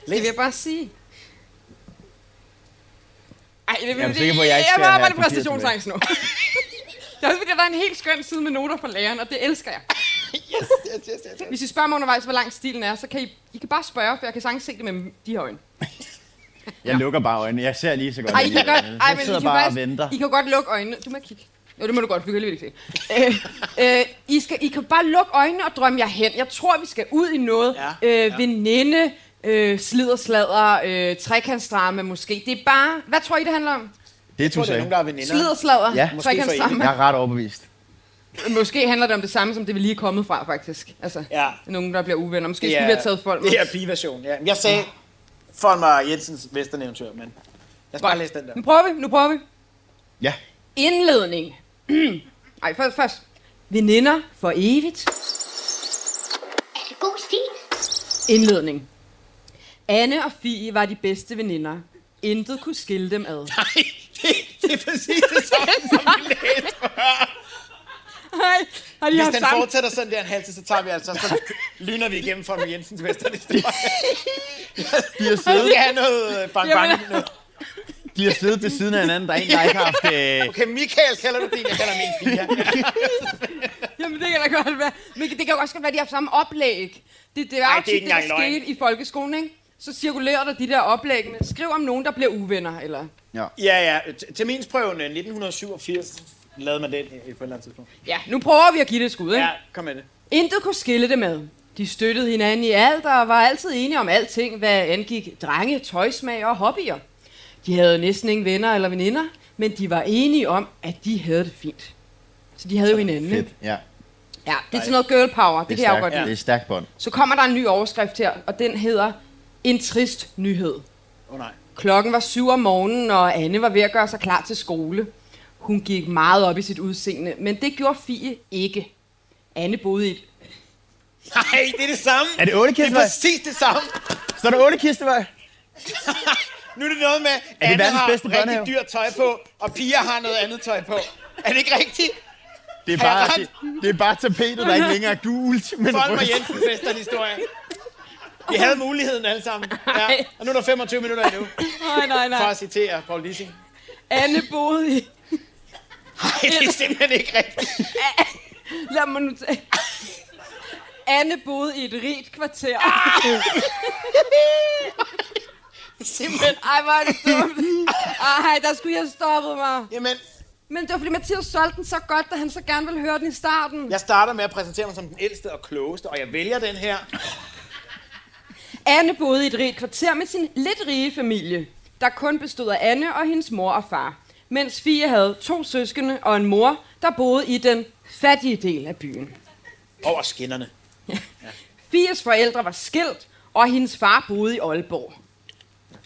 S5: Det vil jeg bare sige. Ej, det vil
S4: Jeg er sikker på, at jeg ikke skal
S5: Jeg
S4: have
S5: arbejde
S4: papir
S5: præstationsangst nu. det er også fordi, der var en helt skøn side med noter fra læreren, og det elsker jeg.
S6: Yes, yes, yes.
S5: Hvis I spørger mig undervejs, hvor lang stilen er, så kan I, I kan bare spørge, for jeg kan sagtens se det med de her øjne.
S4: Jeg lukker bare øjnene. Jeg ser lige så godt.
S5: Ej, I kan godt, ej,
S4: jeg
S5: men I
S4: sidder
S5: kan,
S4: bare og
S5: faktisk-
S4: venter.
S5: I kan godt lukke øjnene. Du må ikke kigge. Jo, det må du godt, vi kan alligevel ikke se. Øh, øh, I, skal, I kan bare lukke øjnene og drømme jer hen. Jeg tror, vi skal ud i noget.
S6: Ja,
S5: øh, Veninde, øh, sliderslader, øh, trekantsdrama måske. Det er bare... Hvad tror I, det handler om?
S4: Det
S6: Jeg tror,
S4: du
S6: det er nogen,
S4: sagde.
S6: der er veninder.
S5: Sliderslader,
S4: Ja.
S5: ja,
S4: Måske
S5: trekantsdrama.
S4: Jeg er ret overbevist.
S5: Måske handler det om det samme, som det vi lige er kommet fra, faktisk. Altså,
S6: Ja.
S5: nogen, der bliver uvenner. Måske skulle vi have taget folk med.
S6: Det er pigeversion, ja. Men Jeg sagde, for mig Jensens Vesterneventyr, men lad os bare læse den der.
S5: Nu prøver vi, nu prøver vi.
S4: Ja.
S5: Indledning. Ej, først, først. Veninder for evigt.
S2: Er det god stil?
S5: Indledning. Anne og Fie var de bedste veninder. Intet kunne skille dem ad.
S6: Nej, det, det er præcis det samme, som vi læste før.
S5: Hej, har de haft
S6: Hvis den
S5: sammen?
S6: fortsætter sådan der en halv tid, så tager vi altså, så lyner vi igennem fra Jensens Vesterneventyr.
S4: De har siddet,
S6: Vi har noget øh, bang bang.
S5: Jamen.
S6: Noget.
S4: de har siddet ved siden af hinanden. Der er en, der ikke har haft... Øh,
S6: Okay, Michael kalder du din, jeg kalder min Pia.
S5: Jamen, det kan da godt være. Men det kan jo også godt være, at de har haft samme oplæg. Det, det var
S6: Ej,
S5: jo tit
S6: det er ikke
S5: det, der
S6: engang løgn.
S5: skete i folkeskolen, ikke? Så cirkulerer der de der oplæg. med, Skriv om nogen, der bliver uvenner, eller...
S6: Ja, ja. T- Terminsprøven øh, 1987 lavede man den øh, på et eller andet tidspunkt.
S5: Ja, nu prøver vi at give det et skud, ikke?
S6: Ja, kom med det.
S5: Intet kunne skille det med. De støttede hinanden i alt og var altid enige om alting, hvad angik drenge, tøjsmag og hobbyer. De havde næsten ingen venner eller veninder, men de var enige om, at de havde det fint. Så de havde jo hinanden.
S4: fedt.
S5: ikke?
S4: Ja.
S5: Ja, det er sådan noget girl power, det,
S4: Det
S5: det kan jeg jo
S4: er stærkt.
S5: godt lide.
S4: Det er stærkt bånd.
S5: Så kommer der en ny overskrift her, og den hedder En trist nyhed.
S6: Åh oh, nej.
S5: Klokken var syv om morgenen, og Anne var ved at gøre sig klar til skole. Hun gik meget op i sit udseende, men det gjorde Fie ikke. Anne boede i et
S6: Nej, det er det samme.
S4: Er det otte
S6: Det er
S4: kistevej?
S6: præcis det samme.
S4: Så er der otte kistevej?
S6: Nu er det noget med, at Anne
S4: verdens
S6: har
S4: bedste
S6: rigtig
S4: børnehave?
S6: dyrt tøj på, og Pia har noget andet tøj på. Er det ikke rigtigt?
S4: Det er
S6: Har jeg
S4: bare,
S6: ret?
S4: det, det er bare tapetet, der ikke længere er gult, men
S6: Folk og
S4: rødt.
S6: Jensen fester en historie. Vi havde muligheden alle sammen. Ja.
S5: Ej.
S6: Og nu er der 25 minutter endnu,
S5: Nej, nej,
S6: for
S5: nej.
S6: at citere Paul Lissing. Nej,
S5: Anne boede i...
S6: det er simpelthen ikke rigtigt.
S5: Lad mig nu tage... Anne boede i et rigt kvarter.
S6: Simpelthen.
S5: Ej, hvor er det dumt. Ej, der skulle jeg have stoppet mig.
S6: Jamen,
S5: Men det var fordi Mathias solgte den så godt, da han så gerne ville høre den i starten.
S6: jeg starter med at præsentere mig som den ældste og klogeste, og jeg vælger den her.
S5: Anne boede i et rigt kvarter med sin lidt rige familie, der kun bestod af Anne og hendes mor og far. Mens Fie havde to søskende og en mor, der boede i den fattige del af byen.
S6: Over skinnerne.
S5: Fies forældre var skilt, og hendes far boede i Aalborg.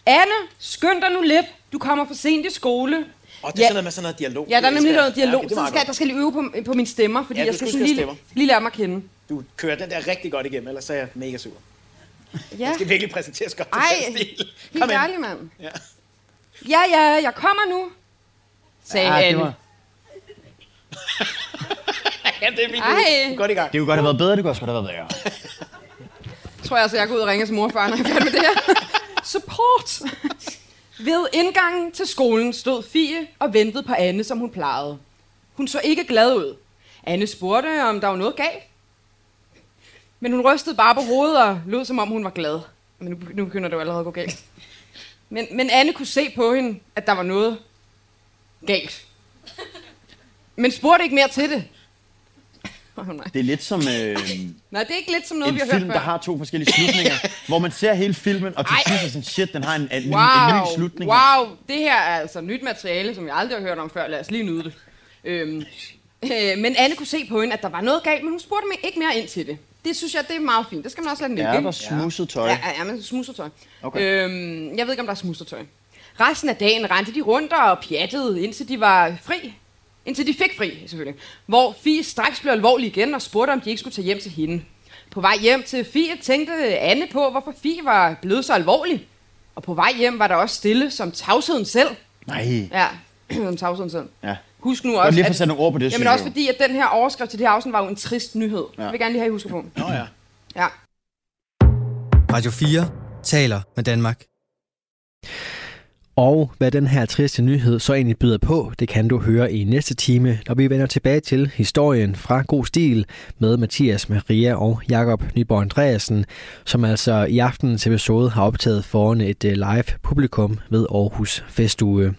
S5: Anne, skynd dig nu lidt. Du kommer for sent i skole.
S6: Og det er
S5: Ja.
S6: sådan noget med sådan noget dialog.
S5: Ja, der er nemlig noget dialog,
S6: okay,
S5: ja,
S6: det er
S5: så
S6: meget
S5: skal, der skal lige øve på, på mine stemmer, fordi
S6: Ja,
S5: jeg
S6: du
S5: skal,
S6: skal
S5: sådan
S6: huske
S5: lige,
S6: at
S5: lige lære mig at kende.
S6: godt. Du kører den der rigtig godt igennem, ellers er jeg mega sur.
S5: Ja.
S6: Jeg skal virkelig præsenteres godt til
S5: Ej,
S6: den stil.
S5: helt
S6: Kom ind.
S5: ærlig, mand.
S6: Ja.
S5: Ja, ja, jeg kommer nu, sagde
S10: Ah, det
S5: Anne.
S10: var...
S6: Ja, det er min
S5: Ej.
S6: Godt i gang.
S4: Det kunne godt have været bedre, det kunne også godt have været værre.
S5: tror jeg altså, jeg går ud og ringer til morfar, når jeg er færdig med det her. Support! Ved indgangen til skolen stod Fie og ventede på Anne, som hun plejede. Hun så ikke glad ud. Anne spurgte, om der var noget galt. Men hun rystede bare på hovedet og lød, som om hun var glad. Men nu, nu begynder det jo allerede at gå galt. Men, men Anne kunne se på hende, at der var noget galt. Men spurgte ikke mere til det. Oh, nej.
S4: Det er lidt som øh,
S5: nej, det er ikke lidt som noget,
S4: en
S5: vi har
S4: film,
S5: hørt før.
S4: der har to forskellige slutninger, hvor man ser hele filmen, og til
S5: Ej.
S4: sidst er sådan, shit, den har en, en, wow. en, ny
S5: Wow,
S4: slutning.
S5: wow, det her er altså nyt materiale, som jeg aldrig har hørt om før. Lad os lige nyde det. Øhm, øh, men Anne kunne se på hende, at der var noget galt, men hun spurgte mig ikke mere ind til det. Det synes jeg, det er meget fint. Det skal man også lade den ligge.
S4: Er
S5: ikke?
S4: der smusset tøj?
S5: Ja, ja, ja men smusertøj.
S4: Okay.
S5: Okay. Øhm, jeg ved ikke, om der er smusertøj. Resten af dagen rendte de rundt og pjattede, indtil de var fri. Indtil de fik fri, selvfølgelig. Hvor Fie straks blev alvorlig igen og spurgte, om de ikke skulle tage hjem til hende. På vej hjem til Fie tænkte Anne på, hvorfor Fie var blevet så alvorlig. Og på vej hjem var der også stille, som tavsheden selv.
S4: Nej.
S5: Ja, som tavsheden selv.
S4: Ja.
S5: Husk nu
S4: Godt
S5: også,
S4: lige at få sat nogle ord på det,
S5: Jamen
S4: synes
S5: også
S4: jeg jo.
S5: fordi, at den her overskrift til det her afsnit var jo en trist nyhed. Ja. Jeg vil gerne lige have, I husker på.
S6: Nå ja.
S5: Ja.
S8: Radio 4 taler med Danmark.
S1: Og hvad den her triste nyhed så egentlig byder på, det kan du høre i næste time, når vi vender tilbage til historien fra God Stil med Mathias Maria og Jakob Nyborg Andreasen, som altså i aftenens episode har optaget foran et øh, live publikum ved Aarhus Festuge.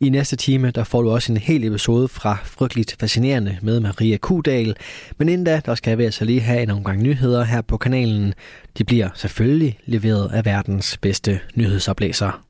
S1: I næste time der får du også en hel episode fra Frygteligt Fascinerende med Maria Kudal, men inden da, der skal vi altså lige have en omgang nyheder her på kanalen. De bliver selvfølgelig leveret af verdens bedste nyhedsoplæser.